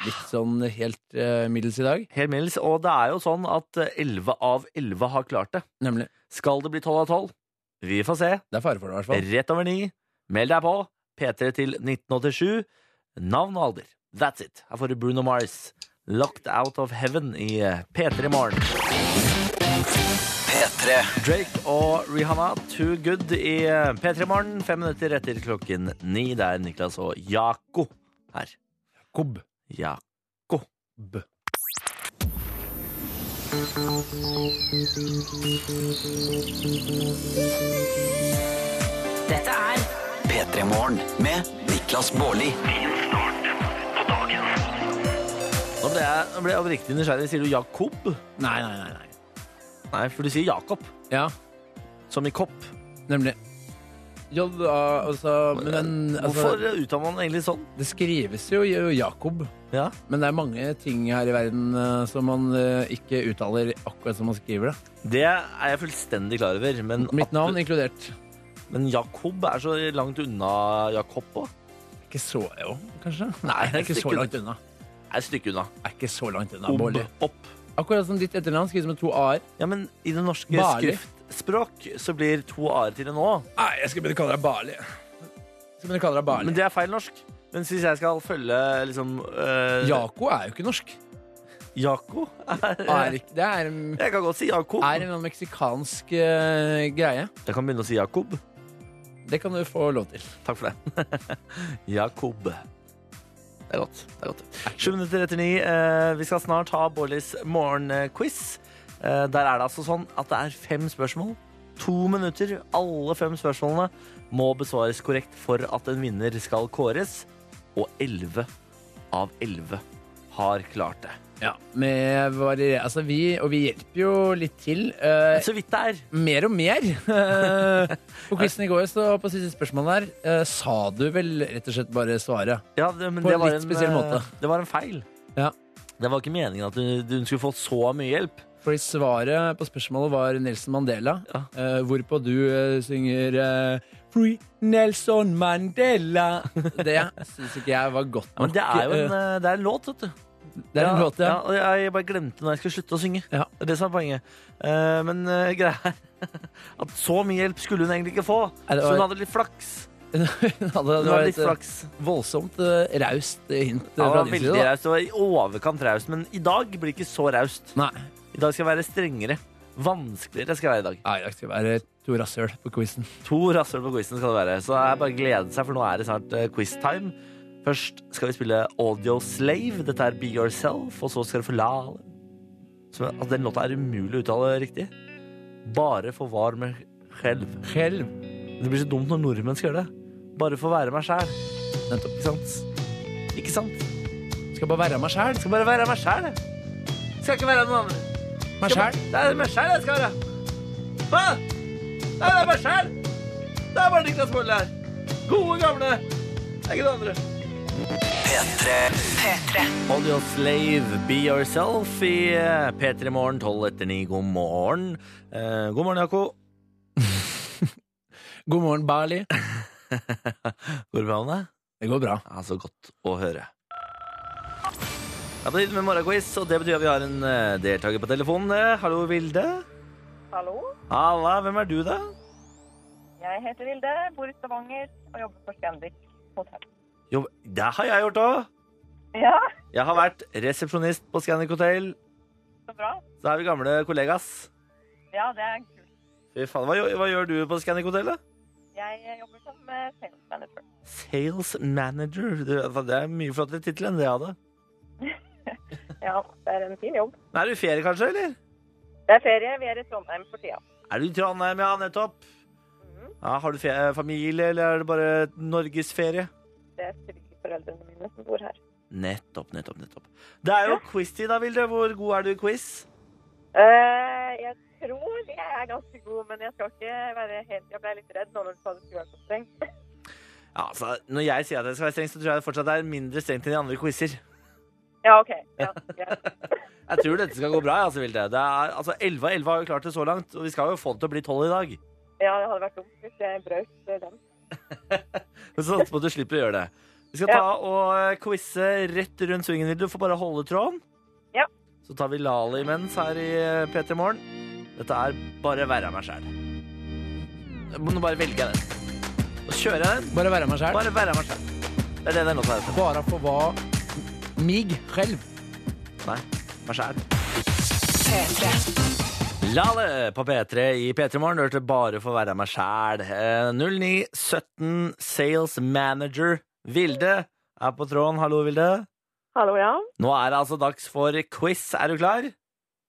[SPEAKER 3] litt sånn helt eh, middels i dag.
[SPEAKER 2] Helt middels. Og det er jo sånn at eh, 11 av 11 har klart det.
[SPEAKER 3] Nemlig.
[SPEAKER 2] Skal det bli 12 av 12? Vi får se.
[SPEAKER 3] Det er fare for det, i hvert fall.
[SPEAKER 2] Rett over 9. Meld deg på. P3 til 1987. Navn og alder. That's it. Her får du Bruno Mars. Locked out of heaven i eh, P3 Morgen.
[SPEAKER 1] P3.
[SPEAKER 2] Drake og Rihanna, Too Good i eh, P3 Morgen. Fem minutter etter klokken ni. Det er Niklas og Jako her.
[SPEAKER 3] Kobb.
[SPEAKER 2] Jako.
[SPEAKER 4] Dette er
[SPEAKER 1] P3 Morgen med Niklas Baarli.
[SPEAKER 2] Nå ble jeg, nå ble jeg oppriktig nysgjerrig. Sier du Jakob?
[SPEAKER 3] Nei, nei, nei. nei.
[SPEAKER 2] Nei, for du sier Jakob.
[SPEAKER 3] Ja,
[SPEAKER 2] Som i kopp.
[SPEAKER 3] nemlig. Ja, da, altså, men den,
[SPEAKER 2] Hvorfor
[SPEAKER 3] altså,
[SPEAKER 2] uttaler man egentlig sånn?
[SPEAKER 3] det skrives jo jo Jakob,
[SPEAKER 2] Ja.
[SPEAKER 3] men det er mange ting her i verden eh, som man eh, ikke uttaler akkurat som man skriver det.
[SPEAKER 2] Det er jeg fullstendig klar over. Men,
[SPEAKER 3] Mitt
[SPEAKER 2] at-
[SPEAKER 3] navn inkludert.
[SPEAKER 2] men Jakob er så langt unna Jakob òg.
[SPEAKER 3] Ikke så jo, kanskje?
[SPEAKER 2] Nei,
[SPEAKER 3] det er ikke så langt unna.
[SPEAKER 2] Er et stykke unna.
[SPEAKER 3] Det er ikke så langt unna,
[SPEAKER 2] Ob,
[SPEAKER 3] Bolli.
[SPEAKER 2] opp.
[SPEAKER 3] Akkurat som ditt etternavn skrives med to a-er.
[SPEAKER 2] Ja, men i det norske
[SPEAKER 3] Barli.
[SPEAKER 2] skriftspråk så blir to a-er til en å.
[SPEAKER 3] Nei, jeg skal begynne å kalle deg Barli. Jeg skal begynne å kalle deg Barli.
[SPEAKER 2] Men det er feil norsk. Men hvis jeg skal følge liksom øh,
[SPEAKER 3] Jako er jo ikke norsk.
[SPEAKER 2] Jako er,
[SPEAKER 3] Er ikke, det er, er
[SPEAKER 2] Jeg kan godt si Jakob.
[SPEAKER 3] en eller annen meksikansk eh, greie.
[SPEAKER 2] Jeg kan begynne å si Jakob.
[SPEAKER 3] Det kan du få lov til.
[SPEAKER 2] Takk for det. Jakob. Det er godt. det er godt. Sju minutter etter ni. Eh, vi skal snart ha Bollis morgenquiz. Eh, der er det altså sånn at det er fem spørsmål. To minutter. Alle fem spørsmålene må besvares korrekt for at en vinner skal kåres. Og elleve av elleve har klart det.
[SPEAKER 3] Ja, med varier, altså vi, og vi hjelper jo litt til. eh,
[SPEAKER 2] Så vidt det er.
[SPEAKER 3] mer og mer. Eh, på quizen i går så på siste spørsmål der eh, sa du vel rett og slett bare svaret.
[SPEAKER 2] Ja, det, men
[SPEAKER 3] På en
[SPEAKER 2] det var
[SPEAKER 3] litt spesiell
[SPEAKER 2] eh,
[SPEAKER 3] måte.
[SPEAKER 2] Det var en feil.
[SPEAKER 3] Ja.
[SPEAKER 2] Det var ikke meningen at hun, hun skulle få så mye hjelp.
[SPEAKER 3] Fordi svaret på spørsmålet var Nelson Mandela,
[SPEAKER 2] Ja.
[SPEAKER 3] eh, hvorpå du eh, synger eh, Free Nelson Mandela. Det syns ikke jeg var godt
[SPEAKER 2] Ja, men
[SPEAKER 3] nok.
[SPEAKER 2] det er jo
[SPEAKER 3] eh,
[SPEAKER 2] en, eh, det er en låt, vet du.
[SPEAKER 3] Det er en låt, ja.
[SPEAKER 2] ja. og Jeg bare glemte når jeg skulle slutte å synge.
[SPEAKER 3] Ja.
[SPEAKER 2] Det er det som er poenget. Eh, men eh, greia er at så mye hjelp skulle hun egentlig ikke få.
[SPEAKER 3] Nei, det
[SPEAKER 2] Så
[SPEAKER 3] var-
[SPEAKER 2] hun hadde litt flaks.
[SPEAKER 3] det var,
[SPEAKER 2] Hun
[SPEAKER 3] det var
[SPEAKER 2] hadde
[SPEAKER 3] et
[SPEAKER 2] litt
[SPEAKER 3] eh,
[SPEAKER 2] flaks.
[SPEAKER 3] voldsomt eh, raust eh, hint eh,
[SPEAKER 2] Ja, det
[SPEAKER 3] fra
[SPEAKER 2] var
[SPEAKER 3] din
[SPEAKER 2] veldig
[SPEAKER 3] side. da.
[SPEAKER 2] raust. Det var i overkant raust. Men i dag blir det ikke så raust.
[SPEAKER 3] Nei.
[SPEAKER 2] I dag skal jeg være strengere. Vanskeligere skal jeg være i dag.
[SPEAKER 3] Nei, jeg skal være to rasshøl på quizen.
[SPEAKER 2] To rasshøl på quizen skal det være. Så det er bare å glede seg, for nå er det snart eh, quiztime. Først skal vi spille Audio Slave. Dette er Be Yourself. Og så skal du få la Som, altså, Den låta er umulig å uttale riktig. Bare for var meg selv.
[SPEAKER 3] Skjelv.
[SPEAKER 2] Det blir så dumt når nordmenn skal gjøre det. Bare for å være meg sjæl.
[SPEAKER 3] Nettopp.
[SPEAKER 2] Ikke sant? Ikke sant?
[SPEAKER 3] Skal bare være meg sjæl.
[SPEAKER 2] Skal bare være meg sjæl, jeg. Skal ikke være noen andre.
[SPEAKER 3] Meg sjæl.
[SPEAKER 2] Det er meg sjæl jeg skal være. Hva? Nei, det er meg sjæl. Det er bare Niklas Baarli her. Gode, gamle. Det er ikke det andre. Audio Slave, Be Yourself i eh, P3 Morgen 12 etter 9. God morgen. Eh, god morgen, Jakob.
[SPEAKER 3] God morgen, Bali.
[SPEAKER 2] Går det bra med deg?
[SPEAKER 3] Det går bra.
[SPEAKER 2] Ja, så godt å høre. Det er på tide med morgenquiz, og det betyr at vi har en eh, deltaker på telefonen. Eh, Hallo, Vilde.
[SPEAKER 8] Hallo,
[SPEAKER 2] Halla, hvem er du, da?
[SPEAKER 8] jeg heter Vilde, bor i Stavanger og jobber på Scandic hotell.
[SPEAKER 2] Jo, det har jeg gjort òg.
[SPEAKER 8] Ja,
[SPEAKER 2] Jeg har vært resepsjonist på Scandic Hotel.
[SPEAKER 8] så bra.
[SPEAKER 2] Så er vi gamle kollegas.
[SPEAKER 8] Ja, det er kult.
[SPEAKER 2] Fy faen, hva, gjør- hva gjør du på Scandic Hotel, da?
[SPEAKER 8] Jeg jobber som eh, sales manager.
[SPEAKER 2] Sales manager. Du, altså, Det er en mye flottere tittel enn det jeg hadde.
[SPEAKER 8] Ja, det er en fin jobb.
[SPEAKER 2] Men er du i ferie, kanskje? eller?
[SPEAKER 8] Det er ferie, vi er i Trondheim for tida.
[SPEAKER 2] Er du i Trondheim, ja, nettopp? Ja, har du fe- eh, familie, eller er det bare norgesferie?
[SPEAKER 8] Det er svigerforeldrene mine som bor her.
[SPEAKER 2] Nettopp, nettopp, nettopp. Det er jo quiz-tid, da, Vilde. Hvor god er du i quiz?
[SPEAKER 8] Eh, jeg tror jeg er ganske god, men jeg skal ikke være helt Jeg ble litt redd nå når du sa du skulle være så streng.
[SPEAKER 2] Ja, altså, Når jeg sier at jeg skal være streng, så tror jeg det fortsatt er mindre strengt enn de andre quizer.
[SPEAKER 8] Ja, OK. Ja, greit.
[SPEAKER 2] Jeg tror dette skal gå bra, jeg, altså, Vilde. Det er, altså, 11 av 11 har jo klart det så langt, og vi skal jo få det til å bli 12 i dag.
[SPEAKER 8] ja det hadde vært dumt hvis jeg brøt eh, den.
[SPEAKER 2] Men så satser på at du slipper å gjøre det. Vi skal ta og quize rett rundt svingen. Vil du får bare holde tråden?
[SPEAKER 8] Ja.
[SPEAKER 2] Så tar vi Lali imens her i P3 Morgen. Dette er bare være meg sjæl. Nå bare velger jeg den. Nå kjører jeg den.
[SPEAKER 3] Bare være meg sjæl.
[SPEAKER 2] Bare være meg sjæl. Det er det den låta heter.
[SPEAKER 3] Bare for hva mig skjelv.
[SPEAKER 2] Nei, meg sjæl. Lale på P3 i P3 Morgen. Hørte bare for å være meg sjæl. Eh, 0917 Sales Manager Vilde er på tråden. Hallo, Vilde.
[SPEAKER 8] Hallo, ja.
[SPEAKER 2] Nå er det altså dags for quiz. Er du klar?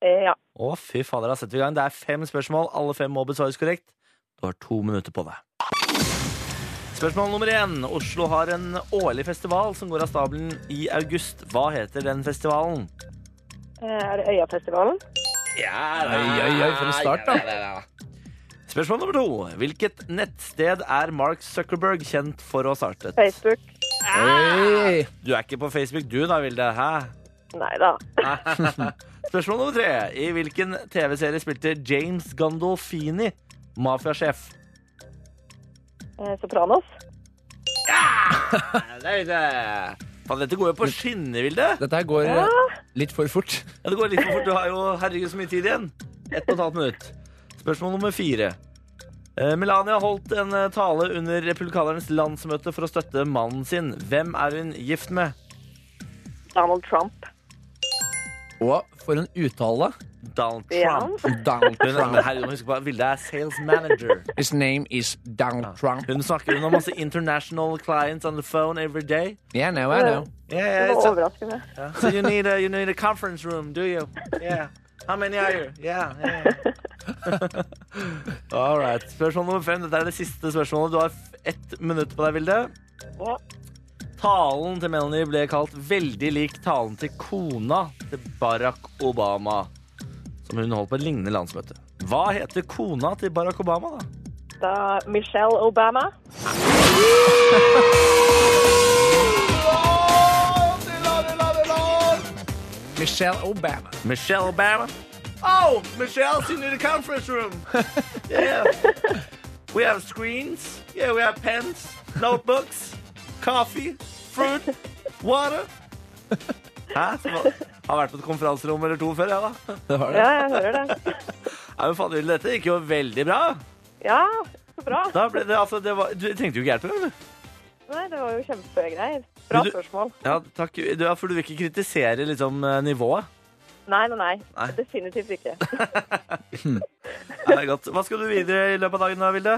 [SPEAKER 8] Eh, ja.
[SPEAKER 2] Å, fy fader, da setter vi i gang. Det er fem spørsmål. Alle fem må besvares korrekt. Du har to minutter på deg. Spørsmål nummer én. Oslo har en årlig festival som går av stabelen i august. Hva heter den festivalen?
[SPEAKER 8] Eh, er det Øyafestivalen?
[SPEAKER 2] Ja,
[SPEAKER 3] Oi, oi, oi, for en start, da.
[SPEAKER 2] Spørsmål nummer to. Hvilket nettsted er Mark Zuckerberg kjent for å ha startet?
[SPEAKER 8] Facebook?
[SPEAKER 2] Ah!
[SPEAKER 3] Oi.
[SPEAKER 2] Du er ikke på Facebook du da, Vilde? Hæ?
[SPEAKER 8] Nei da.
[SPEAKER 2] Spørsmål nummer tre. I hvilken TV-serie spilte James Gandolfini mafiasjef?
[SPEAKER 8] Eh, Sopranos?
[SPEAKER 2] Faen, dette går jo på skinner, Vilde.
[SPEAKER 3] Dette her går eh,
[SPEAKER 2] Ah!
[SPEAKER 3] litt for fort.
[SPEAKER 2] Ja, det går litt for fort. Du har jo herregud så mye tid igjen. Ett og et halvt minutt. Spørsmål nummer fire. Eh, Melania holdt en eh, tale under republikanernes landsmøte for å støtte mannen sin. Hvem er hun gift med?
[SPEAKER 8] Donald Trump.
[SPEAKER 3] Og for en uttale.
[SPEAKER 2] Donald
[SPEAKER 8] Ja.
[SPEAKER 2] Trump.
[SPEAKER 3] Donald
[SPEAKER 2] Hun, men herregud, må huske på, at Vilde er sales manager.
[SPEAKER 3] His name is
[SPEAKER 2] Ah.
[SPEAKER 3] Donald Trump.
[SPEAKER 2] Hun snakker hun har masse international clients on the phone every day. Eh,
[SPEAKER 3] Yeah, I know, I know.
[SPEAKER 2] Yeah,
[SPEAKER 8] Det
[SPEAKER 2] yeah,
[SPEAKER 8] var
[SPEAKER 2] so-
[SPEAKER 8] overraskende.
[SPEAKER 2] So you need a you need a conference room, do you? Yeah. How many are you? Yeah. yeah. All right. Spørsmål nummer fem. Dette er det siste spørsmålet. Du har f- ett minutt på deg, Vilde.
[SPEAKER 8] Ja.
[SPEAKER 2] Talen til Melanie ble kalt veldig lik talen til kona til Barack Obama, som hun holdt på et lignende landsmøte. Hva heter kona til Barack Obama, da?
[SPEAKER 8] Da Michelle Obama.
[SPEAKER 3] Michelle Obama.
[SPEAKER 2] Michelle Obama. Oh, Michelle, you need a conference room. Yeah. We have screens. Yeah, we have pens, notebooks, coffee, fruit, water. Hæ? Som har har vært på et konferanserom eller to før, jeg, da.
[SPEAKER 3] Det var det.
[SPEAKER 8] Ja, jeg hører det.
[SPEAKER 2] Nei, men fader, dette gikk jo veldig bra.
[SPEAKER 8] Ja, så bra.
[SPEAKER 2] Da ble det, altså, det var, du trengte jo ikke hjelp engang, du.
[SPEAKER 8] Nei, det var jo kjempegreier. Bra
[SPEAKER 2] Men du-
[SPEAKER 8] spørsmål.
[SPEAKER 2] Ja, takk. Du, ja, for du vil ikke kritisere liksom, eh, nivået.
[SPEAKER 8] Nei, nei, nei.
[SPEAKER 2] Nei.
[SPEAKER 8] Definitivt ikke.
[SPEAKER 2] Ja, det er godt. Hva skal du videre i løpet av dagen, da, Vilde?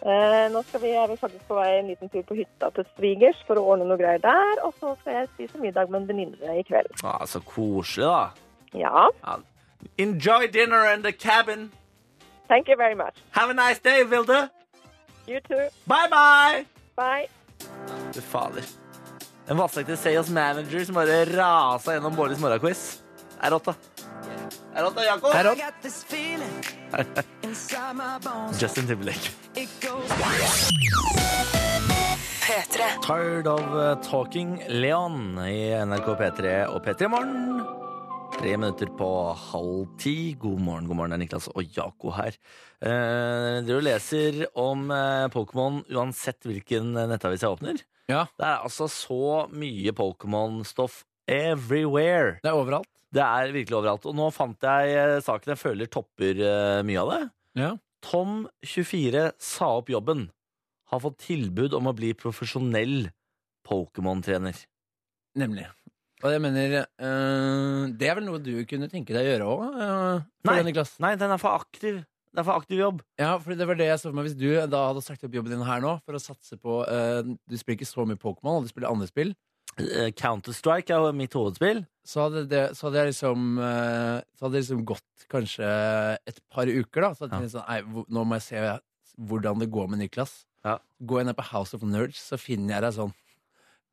[SPEAKER 8] Eh, nå skal vi, er vi faktisk på vei en liten tur på hytta til svigers for å ordne noe greier der. Og så skal jeg spise middag med en venninne i kveld.
[SPEAKER 2] Ah, så koselig, da.
[SPEAKER 8] Ja.
[SPEAKER 2] Enjoy dinner and the cabin.
[SPEAKER 8] Thank you very much.
[SPEAKER 2] Have a nice day, Vilde.
[SPEAKER 8] You too.
[SPEAKER 2] Bye, bye!
[SPEAKER 8] Bye.
[SPEAKER 2] Fy fader. En vassaktig sales manager som bare rasa gjennom Bårdis morgenquiz. Det er rått, da. Det Er rått, da, Jakob?
[SPEAKER 3] Det er rått.
[SPEAKER 2] Justin Timberlake.
[SPEAKER 4] P3.
[SPEAKER 2] Tired of eh, Talking Leon i NRK P3 og P3 Morgen. Tre minutter på halv ti. God morgen, god morgen. Det er Niklas og Jako her. Eh, Dere leser om eh, Pokémon uansett hvilken nettavis jeg åpner.
[SPEAKER 3] Ja,
[SPEAKER 2] Det er altså så mye Pokémon-stoff everywhere.
[SPEAKER 3] det er overalt.
[SPEAKER 2] Det er virkelig overalt. Og nå fant jeg eh, saken jeg føler topper eh, mye av det.
[SPEAKER 3] Ja.
[SPEAKER 2] Tom, 24, sa opp jobben. Har fått tilbud om å bli profesjonell Pokémon-trener.
[SPEAKER 3] Nemlig. Og jeg mener, eh, det er vel noe du kunne tenke deg å gjøre eh, òg?
[SPEAKER 2] Nei.
[SPEAKER 3] Niklas?
[SPEAKER 2] Nei, den er for aktiv. Det er for aktiv jobb.
[SPEAKER 3] Ja, for det var det jeg så for meg Hvis du da hadde sagt opp jobben din her nå for å satse på eh, Du spiller ikke så mye Pokémon, og du spiller andre spill,
[SPEAKER 2] Eh, Counter-Strike er jo mitt hovedspill.
[SPEAKER 3] så hadde, det, så hadde jeg liksom eh, Så hadde det liksom gått kanskje et par uker, da. Så hadde jeg tenkt sånn Nei, hvor- nå må jeg se hvordan det går med Niklas.
[SPEAKER 2] Ja.
[SPEAKER 3] Går jeg ned på House of Nerds, så finner jeg deg sånn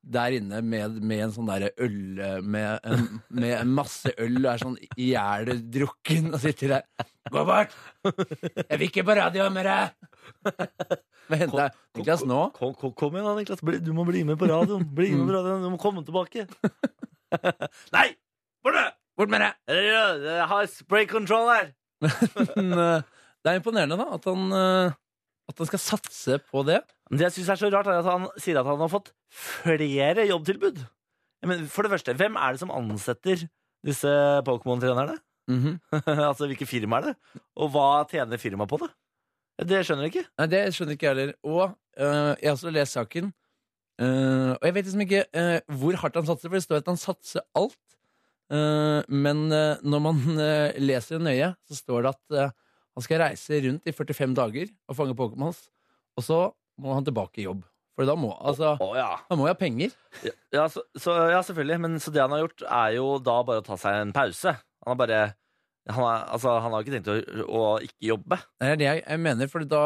[SPEAKER 3] der inne med, med en sånn derre øl med, en- med en masse øl og er sånn i hjel drukken og sitter der. Gå bort! Jeg vil ikke på radioen med deg! Men hent deg Niklas nå.
[SPEAKER 2] Kom, kom, kom igjen, da, Niklas. Bli- Du må bli med på radioen. Bli med på radioen. Du må komme tilbake. Mm. Nei! Borte!
[SPEAKER 3] Bort med deg!
[SPEAKER 2] Jeg har spray control her.
[SPEAKER 3] Men eh, det er imponerende, da, at han, eh, at han skal satse på det.
[SPEAKER 2] Men Det jeg synes er så rart er at han sier at han har fått flere jobbtilbud. Men for det første, hvem er det som ansetter disse Pokémon-trenerne?
[SPEAKER 3] Mhm.
[SPEAKER 2] altså, hvilke firma er det? Og hva tjener firmaet på det? Det skjønner jeg ikke.
[SPEAKER 3] Nei, Det skjønner ikke jeg heller. Og eh, jeg har også lest saken. Eh, og jeg vet liksom ikke eh, hvor hardt han satser, for det står at han satser alt. Eh, men eh, når man eh, leser det nøye, så står det at eh, han skal reise rundt i 45 dager og fange Pokémons. Og så må han tilbake i jobb. For da må altså,
[SPEAKER 2] Å ja.
[SPEAKER 3] han må jo ha penger.
[SPEAKER 2] Ja, så, så, ja, selvfølgelig. Men så det han har gjort, er jo da bare å ta seg en pause. Han har bare han har, altså, han har ikke tenkt å, å ikke jobbe.
[SPEAKER 3] Det er det jeg, jeg mener, for da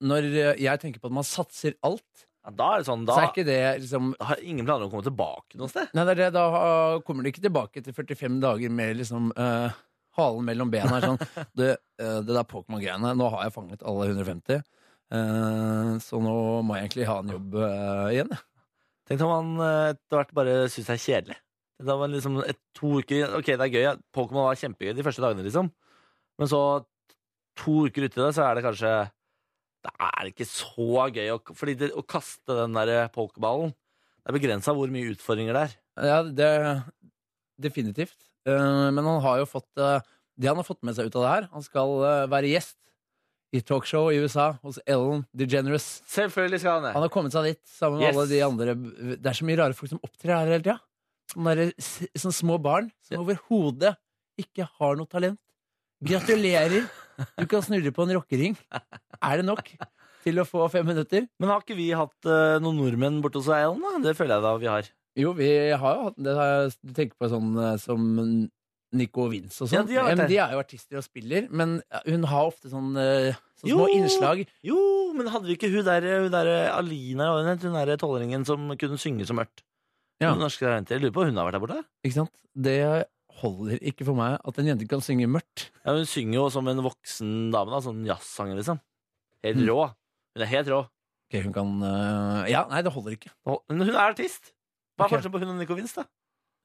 [SPEAKER 3] Når eh, jeg tenker på at man satser alt,
[SPEAKER 2] Ja, da er det sånn,
[SPEAKER 3] så er
[SPEAKER 2] da,
[SPEAKER 3] ikke det liksom
[SPEAKER 2] da har ingen planer om å komme tilbake noe sted.
[SPEAKER 3] Nei, det er det. Da ah, kommer du ikke tilbake etter 45 dager med liksom eh, halen mellom bena. er Sånn. Det, eh, det der Pokémon-greiene, nå har jeg fanget alle 150. eh, så nå må jeg egentlig ha en jobb eh, igjen. jeg.
[SPEAKER 2] Tenk om han eh, etter hvert bare synes det er kjedelig. Da var det liksom et, to uker Ok, det er gøy. ja. Pokémon var kjempegøy de første dagene, liksom. Men så to uker uti det, så er det kanskje Det er ikke så gøy å, fordi det, å kaste den der pokerballen. Det er begrensa hvor mye utfordringer det er.
[SPEAKER 3] Ja, det Definitivt. Eh, men han har jo fått eh, det han har fått med seg ut av det her. Han skal eh, være gjest i talkshow i USA hos Ellen DeGeneres.
[SPEAKER 2] Selvfølgelig skal han det.
[SPEAKER 3] Han har kommet seg dit sammen med
[SPEAKER 2] Yes.
[SPEAKER 3] alle de andre Det er så mye rare folk som opptrer her hele tida. Sånne, der s- sånne små barn som overhodet ikke har noe talent. Gratulerer! Du kan snurre på en rockering. Er det nok til å få fem minutter?
[SPEAKER 2] Men har ikke vi hatt eh, noen nordmenn borte hos Eiland, da? Det føler jeg da vi har.
[SPEAKER 3] Jo, vi har jo hatt det. har- Du tenker på sånn eh, som Nico og Vince og
[SPEAKER 2] Ja,
[SPEAKER 3] sånn.
[SPEAKER 2] de har vært
[SPEAKER 3] men
[SPEAKER 2] her.
[SPEAKER 3] de er jo artister og spiller, men hun har ofte sånn eh, sånne
[SPEAKER 2] Jo.
[SPEAKER 3] små innslag.
[SPEAKER 2] Jo, men hadde vi ikke hun der, hun der Alina, hva het hun der tolvåringen som kunne synge som ørt?
[SPEAKER 3] Ja.
[SPEAKER 2] Hun Norske talenter. Jeg lurer på om hun har vært der borte?
[SPEAKER 3] Ikke sant? Det holder ikke for meg at en jente kan synge mørkt.
[SPEAKER 2] Ja, hun synger jo som en voksen dame, da, sånn jazzsanger, liksom. Helt
[SPEAKER 3] Mm.
[SPEAKER 2] rå. Hun er helt rå.
[SPEAKER 3] Ok, hun kan øh, Ja, nei, det holder ikke.
[SPEAKER 2] Og- Men hun er artist! Hva er
[SPEAKER 3] Ok.
[SPEAKER 2] forskjellen på hun og Nico Vince, da?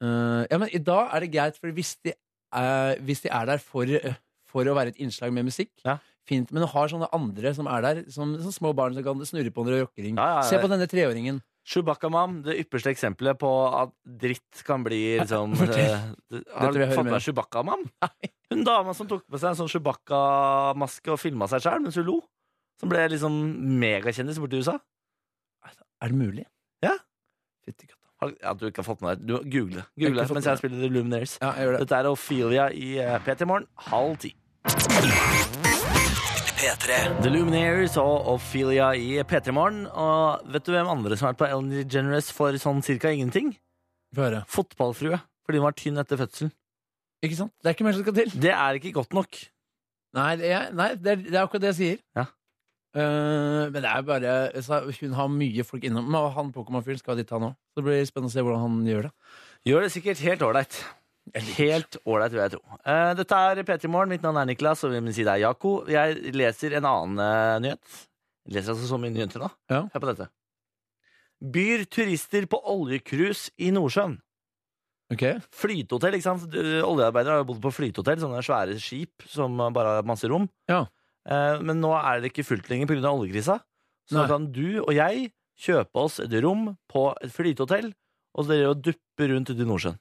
[SPEAKER 3] Øh, ja, men i dag er det greit, for hvis de er, hvis de er der for, øh, for å være et innslag med musikk
[SPEAKER 2] Ja.
[SPEAKER 3] Fint, Men hun har sånne andre som er der, som, som små barn som kan snurre på under rockering.
[SPEAKER 2] Ja, ja, ja.
[SPEAKER 3] Se på denne treåringen.
[SPEAKER 2] Chewbacca-mam, det ypperste eksempelet på at dritt kan
[SPEAKER 3] Ah,
[SPEAKER 2] bli liksom
[SPEAKER 3] fortell.
[SPEAKER 2] eh, det- Har
[SPEAKER 3] vil
[SPEAKER 2] du
[SPEAKER 3] jeg høre mer
[SPEAKER 2] fått
[SPEAKER 3] om.
[SPEAKER 2] med deg Chewbacca-mam? Hun dama som tok på seg en sånn Chewbacca-maske og filma seg sjæl mens hun lo. Som ble liksom megakjendis borti USA.
[SPEAKER 3] Er det mulig?
[SPEAKER 2] Ja.
[SPEAKER 3] Fytti katta.
[SPEAKER 2] Har, ja, du ikke har fått med deg Du Google det.
[SPEAKER 3] Jeg har ikke
[SPEAKER 2] Google det
[SPEAKER 3] fått
[SPEAKER 2] mens
[SPEAKER 3] med
[SPEAKER 2] jeg spiller The Luminaires.
[SPEAKER 3] Ja, jeg gjør det.
[SPEAKER 2] Dette er Ophelia i eh, P3 Morgen halv ti.
[SPEAKER 1] P3.
[SPEAKER 2] The Luminaires og Ophelia i P3 Morgen. Og vet du hvem andre som har vært på Ellen DeGeneres for sånn cirka ingenting?
[SPEAKER 3] Få høre.
[SPEAKER 2] Fotballfrue. Fordi hun var tynn etter fødselen.
[SPEAKER 3] Ikke sant? Det er ikke mer som skal til.
[SPEAKER 2] Det er ikke godt nok.
[SPEAKER 3] Nei, det er, nei det, er, det er akkurat det jeg sier.
[SPEAKER 2] Ja.
[SPEAKER 3] Eh, men det er bare jeg sa, Hun har mye folk innom. Men han Pokémon-fyren skal dit, han òg. Så det blir spennende å se hvordan han gjør det.
[SPEAKER 2] Gjør det sikkert helt ålreit. Helt ålreit, vil jeg tro. Eh, Dette er P3 Morgen. Mitt navn er Niklas, og ved min side er Jako. Jeg leser en annen eh, nyhet. Jeg leser altså så mye nyheter nå.
[SPEAKER 3] Ja.
[SPEAKER 2] Hør på dette. Byr turister på oljekrus i Nordsjøen.
[SPEAKER 3] Ok?
[SPEAKER 2] Flytehotell, ikke sant? Du- Oljearbeidere har jo bodd på flytehotell, sånne svære skip som bare har masse rom.
[SPEAKER 3] Ja.
[SPEAKER 2] Eh, Men nå er det ikke fullt lenger pga. oljekrisa. Så
[SPEAKER 3] Nei.
[SPEAKER 2] da kan du og jeg kjøpe oss et rom på et flytehotell, og dere jo duppe rundt ute i Nordsjøen.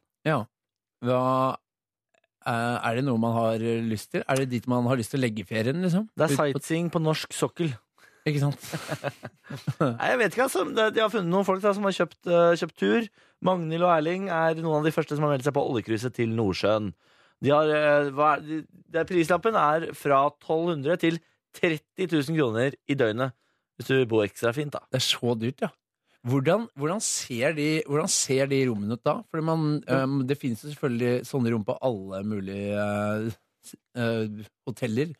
[SPEAKER 3] Hva eh, Er det noe man har lyst til? Er det dit man har lyst til å legge ferien, liksom?
[SPEAKER 2] Det er
[SPEAKER 3] Ut på-
[SPEAKER 2] sightseeing på norsk sokkel.
[SPEAKER 3] Ikke sant?
[SPEAKER 2] Nei, jeg vet ikke, altså. Det- De har funnet noen folk da, som har kjøpt, eh, kjøpt tur. Magnhild og Erling er noen av de første som har meldt seg på oljekruset til Nordsjøen. De har, eh, hva er, de, det er- prislappen er fra 1200 til 30 000 kroner i døgnet. Hvis du bor ekstra fint, da.
[SPEAKER 3] Det er så dyrt, ja. Hvordan, hvordan, ser, de, hvordan ser de rommene ut da? Fordi man, øhm, Det finnes jo selvfølgelig sånne rom på alle mulige øh, s- øh, hoteller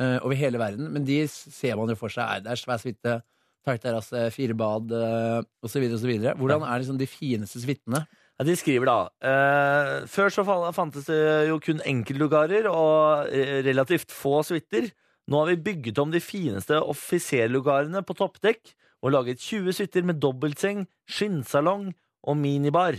[SPEAKER 3] øh, over hele verden, men de s- ser man jo for seg. Er det er svær suite, tight terrasse, fire bad øh, osv. osv. Hvordan er liksom de fineste suitene?
[SPEAKER 2] Ja, de skriver da eh, Før så fa- fantes det jo kun enkeltlugarer og eh, relativt få suiter. Nå har vi bygget om de fineste offiserlugarene på toppdekk og laget 20 suiter med dobbeltseng, skinnsalong og minibar.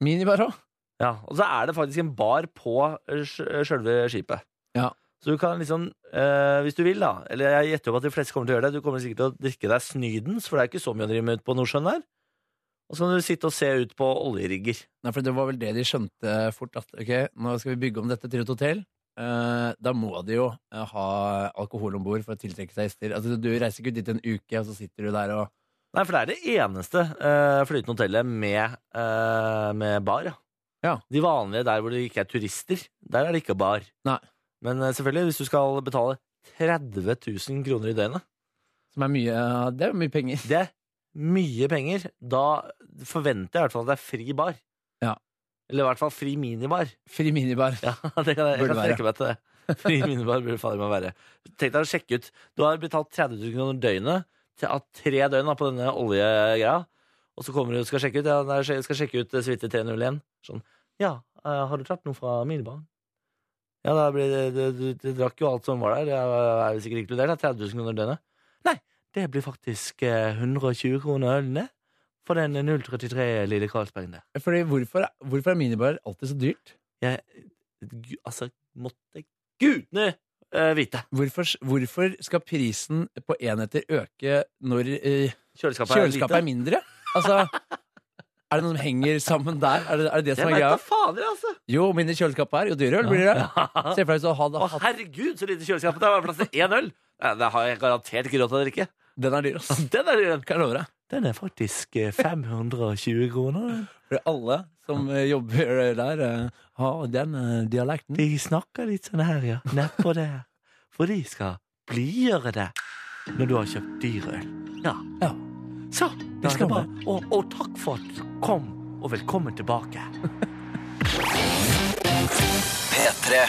[SPEAKER 3] Minibar òg?
[SPEAKER 2] Ja, og så er det faktisk en bar på eh, sj- eh, sjølve skipet.
[SPEAKER 3] Ja.
[SPEAKER 2] Så du kan liksom, eh, hvis du vil da, eller jeg gjetter jo på at de fleste kommer til å gjøre det, du kommer sikkert til å drikke deg snydens, for det er ikke så mye å drive med ute på Nordsjøen der. Og så kan du sitte og se ut på oljerigger.
[SPEAKER 3] Nei, for det var vel det de skjønte fort, at ok, nå skal vi bygge om dette til et hotell. Eh, da må de jo eh, ha alkohol om bord for å tiltrekke seg gjester. Altså, du reiser ikke ut dit en uke, og så sitter du der og
[SPEAKER 2] Nei, for det er det eneste eh, flytende hotellet med, eh, med bar. Ja.
[SPEAKER 3] Ja.
[SPEAKER 2] De vanlige der hvor det ikke er turister, der er det ikke bar.
[SPEAKER 3] Nei.
[SPEAKER 2] Men eh, selvfølgelig, hvis du skal betale 30 000 kroner i døgnet,
[SPEAKER 3] Som er mye Det er jo mye penger.
[SPEAKER 2] det er mye penger. Da forventer jeg i hvert fall at det er fri bar.
[SPEAKER 3] Ja.
[SPEAKER 2] Eller i hvert fall fri minibar.
[SPEAKER 3] Fri minibar.
[SPEAKER 2] Ja, det kan jeg, jeg
[SPEAKER 3] Burde
[SPEAKER 2] kan
[SPEAKER 3] være.
[SPEAKER 2] strekke meg til det. Fri minibar burde fader meg være. Tenk deg å sjekke ut. Du har betalt 30 000 kroner døgnet, til- av tre døgn da, på denne oljegreia, og så kommer du og skal sjekke ut, ja, nei, jeg skal sjekke ut eh, suite 301. Sånn, ja, eh, har du tatt noe fra minibaren? Ja, da blir det, det, du, du drakk jo alt som var der, det er jo sikkert inkludert, da, 30 000 kroner døgnet. Nei, det blir faktisk eh, 120 kroner ølene for den 033 lille Karlsbergen der.
[SPEAKER 3] Fordi hvorfor, hvorfor er minibar alltid så dyrt?
[SPEAKER 2] Jeg, gu- altså, måtte gudene eh, vite.
[SPEAKER 3] Hvorfor, hvorfor skal prisen på enheter øke når eh,
[SPEAKER 2] Kjøleskapet,
[SPEAKER 3] kjøleskapet er mindre? Altså Er det noe som henger sammen der? Er det er det, det som er
[SPEAKER 2] Jeg vet
[SPEAKER 3] greia?
[SPEAKER 2] da fader, altså!
[SPEAKER 3] Jo mindre kjøleskapet er, jo dyrere øl blir det. Se for deg hvis du hadde
[SPEAKER 2] Å,
[SPEAKER 3] hatt
[SPEAKER 2] herregud, så lite kjøleskap. Det er bare plass til én øl! Nei, Det har jeg garantert ikke råd til å drikke.
[SPEAKER 3] Den er dyr, ass.
[SPEAKER 2] Den er,
[SPEAKER 3] Kan jeg love deg.
[SPEAKER 2] den er faktisk eh, 520 kroner. den.
[SPEAKER 3] For alle som eh, jobber der, eh, har den eh, dialekten.
[SPEAKER 2] De snakker litt sånn her, ja. Nedpå der. For de skal blidgjøre deg når du har kjøpt dyr øl. Ja.
[SPEAKER 3] Ja.
[SPEAKER 2] Så, da er
[SPEAKER 3] skal
[SPEAKER 2] det bare og, og takk for at du kom, og velkommen tilbake.
[SPEAKER 1] P3.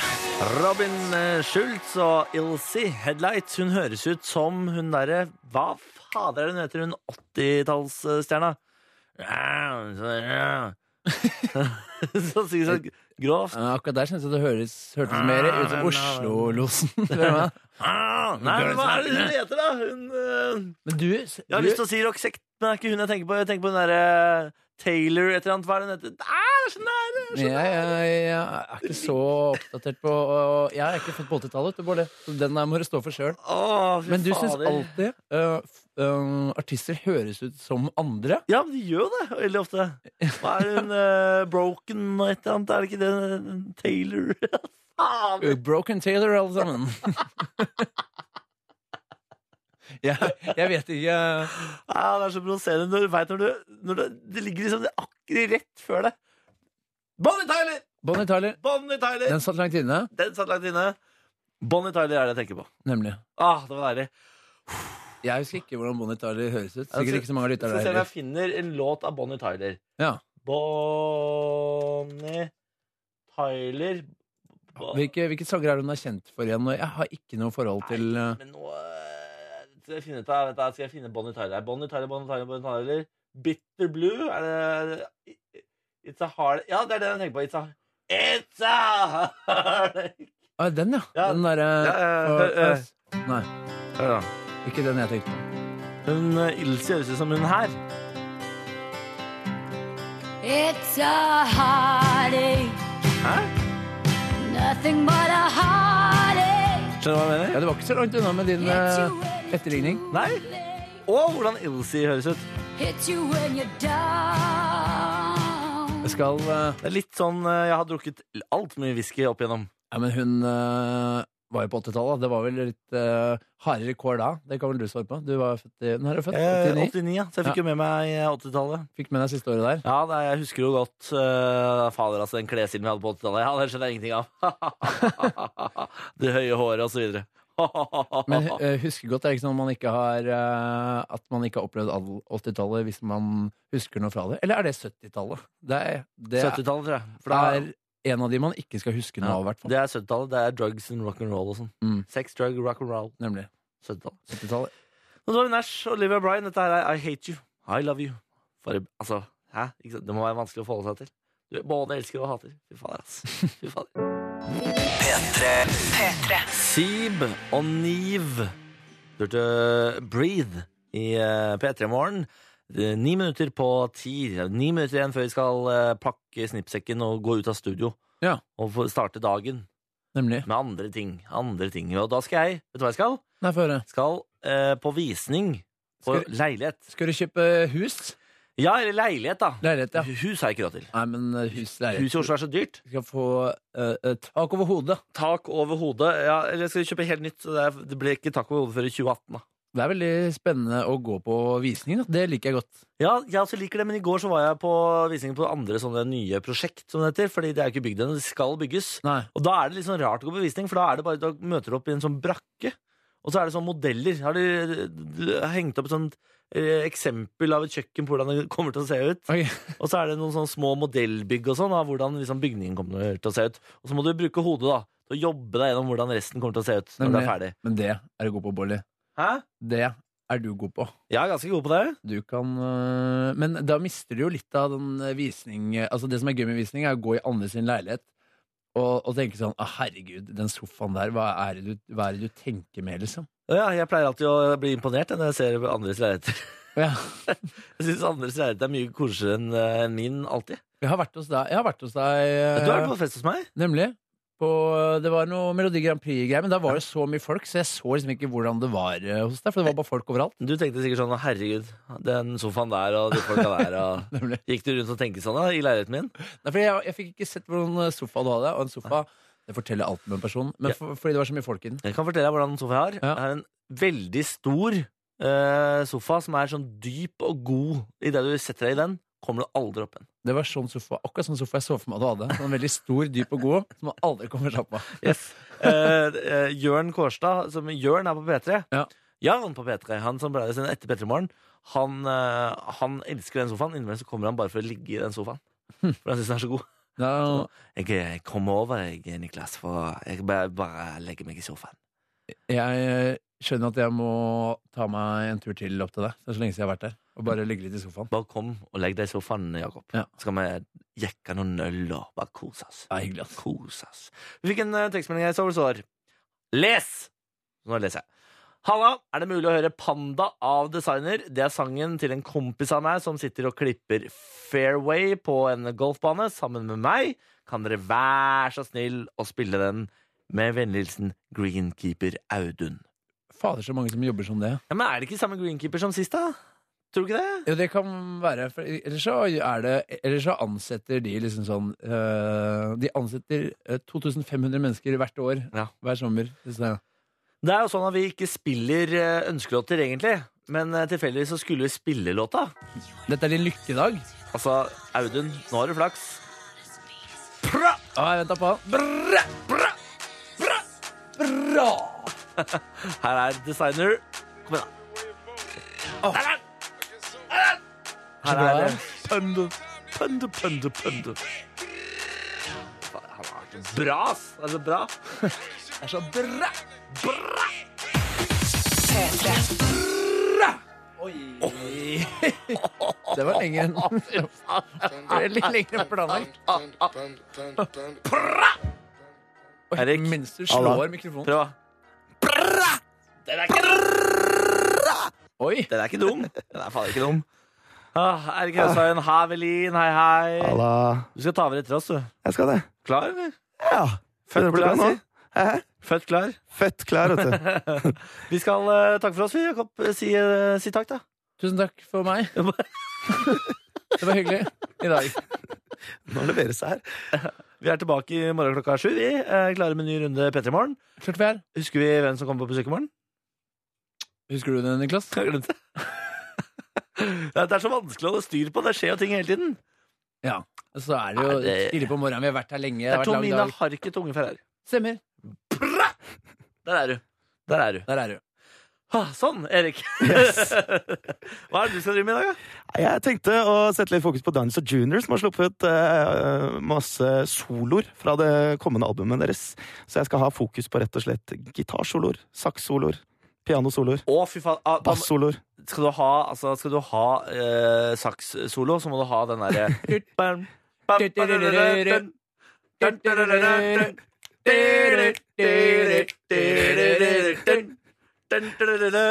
[SPEAKER 2] Robin eh, Schultz og Ilse Headlights Hun høres ut som hun derre Hva fader er det hun heter, hun 80-tallsstjerna? Så sier hun sånn grovt
[SPEAKER 3] Eh, Akkurat der synes jeg det høres,
[SPEAKER 2] Ah,
[SPEAKER 3] hørtes mer ut
[SPEAKER 2] eh,
[SPEAKER 3] som Oslo-losen.
[SPEAKER 2] Ah, Nei, men hva er det hun heter, da? Hun, eh,
[SPEAKER 3] Men du,
[SPEAKER 2] jeg eh, har lyst til å si Roxette, men det er ikke hun jeg tenker på. Jeg tenker på hun derre Taylor et eller annet. Hva er det hun heter? Nei, er så nære!
[SPEAKER 3] Men Jeg, jeg, jeg er ikke så oppdatert på Jeg er ikke født på 80-tallet, vet du, Bård. Så Den der må du stå for sjøl.
[SPEAKER 2] Å, fy
[SPEAKER 3] Men du syns
[SPEAKER 2] fader.
[SPEAKER 3] alltid øh, f- øh, artister høres ut som andre.
[SPEAKER 2] Ja, men de gjør jo det veldig ofte. Hva er hun eh, Broken og et eller annet? Er det ikke det? Taylor? Faen!
[SPEAKER 3] Eh, Broken Taylor, alle sammen. jeg, jeg vet ikke eh.
[SPEAKER 2] Ja, det er så provoserende. Når du vet når du, når du Det ligger liksom akkurat rett før det. Bonnie Tyler!
[SPEAKER 3] Bonnie Tyler.
[SPEAKER 2] Bonnie Tyler!
[SPEAKER 3] Den satt langt inne,
[SPEAKER 2] Den satt langt inne. Bonnie Tyler er det jeg tenker på.
[SPEAKER 3] nemlig.
[SPEAKER 2] Ah, det var deilig.
[SPEAKER 3] Jeg husker ikke hvordan Bonnie Tyler høres ut.
[SPEAKER 2] Altså,
[SPEAKER 3] Sikkert ikke så mange
[SPEAKER 2] Skal
[SPEAKER 3] lyttere
[SPEAKER 2] vi
[SPEAKER 3] der
[SPEAKER 2] se om
[SPEAKER 3] heller.
[SPEAKER 2] jeg finner en låt av Bonnie Tyler.
[SPEAKER 3] Ja.
[SPEAKER 2] Bonnie Tyler Bo-
[SPEAKER 3] Hvilke, hvilke sanger er det hun er kjent for igjen? Og Jeg har ikke noe forhold til
[SPEAKER 2] Nei,
[SPEAKER 3] øh,
[SPEAKER 2] Men nå eh, skal jeg finne, ut av- vet du hva, skal jeg finne Bonnie Tyler her. Bonnie Tyler, Bonnie Tyler, Bonnie Tyler. Bitter Blue? Er det It's a hard Ja, det er det jeg tenker på. It's a It's a hard
[SPEAKER 3] ah, Den, ja.
[SPEAKER 2] Ja.
[SPEAKER 3] Den derre
[SPEAKER 2] Ja, eh, eh,
[SPEAKER 3] Nei, ikke den jeg tenkte på.
[SPEAKER 2] Hun eh, Ilse høres ut som hun her.
[SPEAKER 5] It's a heartache. Nothing but a heartache.
[SPEAKER 2] Skjønner
[SPEAKER 3] Ja,
[SPEAKER 2] du hva jeg mener?
[SPEAKER 3] det var ikke så langt unna med din
[SPEAKER 5] Hits you
[SPEAKER 3] øh,
[SPEAKER 5] when it's
[SPEAKER 3] etterligning.
[SPEAKER 5] too
[SPEAKER 2] Nei.
[SPEAKER 5] late.
[SPEAKER 2] Og hvordan Ilse høres ut.
[SPEAKER 5] Hits you when you're down.
[SPEAKER 3] Jeg skal øh,
[SPEAKER 2] Det er litt sånn eh, Jeg har drukket altfor mye whisky opp igjennom.
[SPEAKER 3] Ja, men hun øh, var jo på 80-tallet. da. Det var vel litt øh, hardere kår da. Det kan vel du svare på? Du var født i Når er du født? 89?
[SPEAKER 2] 89, Eh, ja. Så jeg fikk jo med meg eh, 80-tallet.
[SPEAKER 3] Fikk med deg siste året der.
[SPEAKER 2] Ja, det er, jeg husker jo godt eh, Fader, altså, den klessilen vi hadde på 80-tallet. Ja, det skjønner jeg ingenting av. det høye håret og så videre.
[SPEAKER 3] Men uh, husker godt er ikke sånn at man ikke har øh, At man ikke har opplevd all- 80-tallet hvis man husker noe fra det. Eller er det 70-tallet? Det er, det, er,
[SPEAKER 2] 70-tallet, tror jeg. For
[SPEAKER 3] det
[SPEAKER 2] da-
[SPEAKER 3] er en av de man ikke skal huske noe
[SPEAKER 2] Ja,
[SPEAKER 3] av, i hvert fall.
[SPEAKER 2] det er 70-tallet. Det er drugs and rock and roll og sånn.
[SPEAKER 3] Mm.
[SPEAKER 2] Sex, drug, rock and roll.
[SPEAKER 3] Nemlig.
[SPEAKER 2] 70-tallet.
[SPEAKER 3] 70-tallet.
[SPEAKER 2] Og det var Nash og Olivia Bryan. Dette her er I hate you. I love you. For, altså, hæ? Ikke sant? Det må være vanskelig å forholde seg til. Du både elsker og hater. Fy fader, ass. Fy fader. Seeb og Niv. Du hørte Breathe i eh, P3 Morgen. Det er Ni minutter på ti. Ni minutter igjen før vi skal eh, pakke snippsekken og gå ut av studio.
[SPEAKER 3] Ja.
[SPEAKER 2] Og få starte dagen
[SPEAKER 3] Nemlig.
[SPEAKER 2] med andre ting. Andre ting. Og da skal jeg Vet du hva jeg skal?
[SPEAKER 3] Nei, få høre.
[SPEAKER 2] Skal eh, på visning på
[SPEAKER 3] Skal du-
[SPEAKER 2] leilighet.
[SPEAKER 3] Skal du kjøpe hus?
[SPEAKER 2] Ja, eller leilighet, da.
[SPEAKER 3] Leilighet, ja.
[SPEAKER 2] Hus har jeg ikke råd til.
[SPEAKER 3] Nei, men øh, hus
[SPEAKER 2] Hus
[SPEAKER 3] leilighet.
[SPEAKER 2] i Oslo er så dyrt.
[SPEAKER 3] Du skal få øh, øh, tak over hodet.
[SPEAKER 2] Tak over hodet. Ja, eller jeg skal kjøpe helt nytt, så det er- det blir ikke tak over hodet før i 2018. da
[SPEAKER 3] Det er veldig spennende å gå på visning. Da. Det liker jeg godt.
[SPEAKER 2] Ja, jeg også liker det, men i går så var jeg på visning på andre sånne nye prosjekt, som det heter, fordi det er jo ikke bygd ennå, det skal bygges.
[SPEAKER 3] Nei.
[SPEAKER 2] Og da er det litt sånn rart å gå på visning, for da er det bare, da møter du opp i en sånn brakke, og så er det sånn modeller. Har de eh, hengt opp et sånt eh, eksempel av et kjøkken på hvordan det kommer til å se ut.
[SPEAKER 3] Oi.
[SPEAKER 2] Og så er det noen sånne små modellbygg og sånn, av hvordan liksom bygningen kommer til å se ut. Og så må du bruke hodet, da, til å jobbe deg gjennom hvordan resten kommer til å se ut når det er
[SPEAKER 3] Nemlig.
[SPEAKER 2] ferdig.
[SPEAKER 3] Men det er du god på, Bolly.
[SPEAKER 2] Hæ?
[SPEAKER 3] Det er du god på.
[SPEAKER 2] Jeg er ganske god på det.
[SPEAKER 3] Du kan øh, Men da mister du jo litt av den øh, visning Altså, det som er gøy med visning, er å gå i andre sin leilighet. Og, og tenke sånn ah, 'Herregud, den sofaen der, hva er det du, hva er det du tenker med?' liksom.
[SPEAKER 2] Ja, jeg pleier alltid å bli imponert når jeg ser andres leiligheter.
[SPEAKER 3] Ja.
[SPEAKER 2] Jeg syns andres leilighet er mye koseligere enn eh, enn min alltid.
[SPEAKER 3] Jeg har vært hos deg, jeg har vært hos deg øh,
[SPEAKER 2] Du har vært på fest hos meg.
[SPEAKER 3] Nemlig. På, det var noe Melodi Grand Prix-greier, men da var det så mye folk, så jeg så liksom ikke hvordan det var eh, hos deg. For det var bare folk overalt.
[SPEAKER 2] Du tenkte sikkert sånn 'Å, herregud, den sofaen der og de folka der og
[SPEAKER 3] Nemlig.
[SPEAKER 2] Gikk du rundt og tenkte sånn da, i leiligheten min?
[SPEAKER 3] Nei, fordi jeg, jeg fikk ikke sett hvordan sofa du hadde, og en sofa det forteller alt om en person. Men
[SPEAKER 2] Ja.
[SPEAKER 3] for, fordi det var så mye folk i den.
[SPEAKER 2] Jeg kan fortelle deg hvordan sofa jeg har.
[SPEAKER 3] Ja.
[SPEAKER 2] Det er en veldig stor eh, sofa som er sånn dyp og god. Idet du setter deg i den, kommer du aldri opp igjen.
[SPEAKER 3] Det var sånn sofa, akkurat sånn sofa jeg så for meg at du hadde. Sånn veldig stor, dyp og god, som man aldri kommer seg opp av.
[SPEAKER 2] Yes. Eh, eh, Jørn Kårstad, som Jørn er på P3.
[SPEAKER 3] Ja.
[SPEAKER 2] Jørn på P3, han som ble det sin etter P3-morgen, han, eh, han elsker den sofaen. Innimellom så kommer han bare for å ligge i den sofaen. For han syns den er så god.
[SPEAKER 3] Da,
[SPEAKER 2] Jeg eh, kommer over, jeg, Niklas, for jeg bare, bare legger meg i sofaen.
[SPEAKER 3] jeg skjønner at jeg må ta meg en tur til opp til deg. Det er så lenge siden jeg har vært der. Og bare ligge litt i sofaen.
[SPEAKER 2] Bare kom og legg deg i sofaen, Jakob.
[SPEAKER 3] Ja.
[SPEAKER 2] Så kan vi jekke noen øl og bare kose oss.
[SPEAKER 3] Det er hyggelig, ass.
[SPEAKER 2] Kos, ass. Vi fikk en eh, tekstmelding her som står Les! Nå leser jeg. Halla! Er det mulig å høre 'Panda' av designer? Det er sangen til en kompis av meg som sitter og klipper fairway på en golfbane sammen med meg. Kan dere være så snill å spille den? Med vennlig hilsen greenkeeper Audun.
[SPEAKER 3] Fader, så mange som jobber som det.
[SPEAKER 2] Ja, men Er det ikke samme greenkeeper som sist, da? Tror du ikke det?
[SPEAKER 3] Jo, det kan være for Eller så, er det, eller så ansetter de liksom sånn øh, De ansetter øh, 2500 mennesker hvert år.
[SPEAKER 2] Ja.
[SPEAKER 3] Hver sommer. Liksom. det.
[SPEAKER 2] Det er jo sånn at vi ikke spiller eh, ønskelåter, egentlig. Men eh, tilfeldigvis så skulle vi spille låta.
[SPEAKER 3] Dette er din lykkedag.
[SPEAKER 2] Altså, Audun, nå har du flaks. Pra!
[SPEAKER 3] Å, jeg venta på han.
[SPEAKER 2] Bra! Bra! Bra! Bra! Her er designer. Kom igjen, da. Her er han! Her er han! Her
[SPEAKER 3] bra.
[SPEAKER 2] er det. Pøndu, pøndu, pøndu, pøndu. Faen, han har vært Bra, ass! Det er så bra. Det er så bra! Bra!
[SPEAKER 4] P3.
[SPEAKER 3] Det var lenger enn Det er Litt lenger enn planlagt. Oi,
[SPEAKER 2] Erik.
[SPEAKER 3] Mens du slår mikrofonen.
[SPEAKER 2] Prøv, da.
[SPEAKER 3] Oi!
[SPEAKER 2] Den er ikke dum. Den er faen ikke dum. Ah, Erik Høshagen, Havelin, hei, hei. Du skal ta over etter oss, du.
[SPEAKER 9] Jeg skal det.
[SPEAKER 2] Klar, eller?
[SPEAKER 9] Ja.
[SPEAKER 2] Født
[SPEAKER 9] Begynner å bli
[SPEAKER 2] klar,
[SPEAKER 9] bra nå.
[SPEAKER 2] si. Født klar.
[SPEAKER 9] Født klar, vet du.
[SPEAKER 2] Vi skal eh, takke for oss, vi. Jakob, si, eh, si takk, da.
[SPEAKER 3] Tusen takk for meg. Det var hyggelig i dag.
[SPEAKER 9] Nå leveres det her.
[SPEAKER 2] Vi er tilbake i morgen klokka sju. Vi eh, klare med en ny runde P3 Morgen.
[SPEAKER 3] Klart vi er.
[SPEAKER 2] Husker vi hvem som kommer på besøk i morgen?
[SPEAKER 3] Husker du det, Niklas?
[SPEAKER 2] Jeg glemte det. Ja, Det er så vanskelig å holde styr på. Det skjer jo ting hele tiden.
[SPEAKER 3] Ja. Så er det
[SPEAKER 2] Nei,
[SPEAKER 3] jo
[SPEAKER 2] det-
[SPEAKER 3] tidlig på morgenen. Vi har vært her lenge. Det
[SPEAKER 2] Det er
[SPEAKER 3] har vært lang
[SPEAKER 2] Tomina
[SPEAKER 3] dag.
[SPEAKER 2] Harket Unge Ferrari.
[SPEAKER 3] Stemmer.
[SPEAKER 2] Der er du. Der er du.
[SPEAKER 3] Der er du.
[SPEAKER 2] Ah, sånn, Erik. Hva er det du skal drive med i dag, da?
[SPEAKER 9] Jeg tenkte å sette litt fokus på Dinosaur Junior, som har sluppet eh, masse soloer fra det kommende albumet deres. Så jeg skal ha fokus på rett og slett gitarsoloer, sakssoloer, pianosoloer,
[SPEAKER 2] Å, fy faen. Ah, da-
[SPEAKER 9] bassoloer.
[SPEAKER 2] skal du ha, altså, skal du ha eh, sakssolo, så må du ha den derre
[SPEAKER 9] Eh,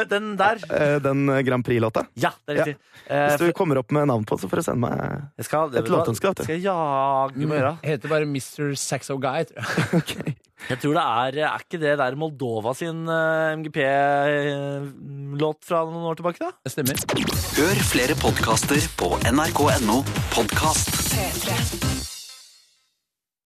[SPEAKER 2] Den der.
[SPEAKER 9] Eh, Den Grand Prix-låta.
[SPEAKER 2] Ja, det er riktig. Eh,
[SPEAKER 9] Hvis du kommer opp med navn på den, så får du sende meg
[SPEAKER 2] jeg skal,
[SPEAKER 9] et låtønske, vet du.
[SPEAKER 2] Skal jeg jage med øra?
[SPEAKER 3] Heter bare Mr. Saxo Guy, tror jeg.
[SPEAKER 2] Jeg tror det er Er ikke det der Moldova sin eh, MGP-låt eh, fra noen år tilbake, da?
[SPEAKER 3] Det stemmer.
[SPEAKER 1] Hør flere podkaster på nrk.no podkast.
[SPEAKER 4] P3.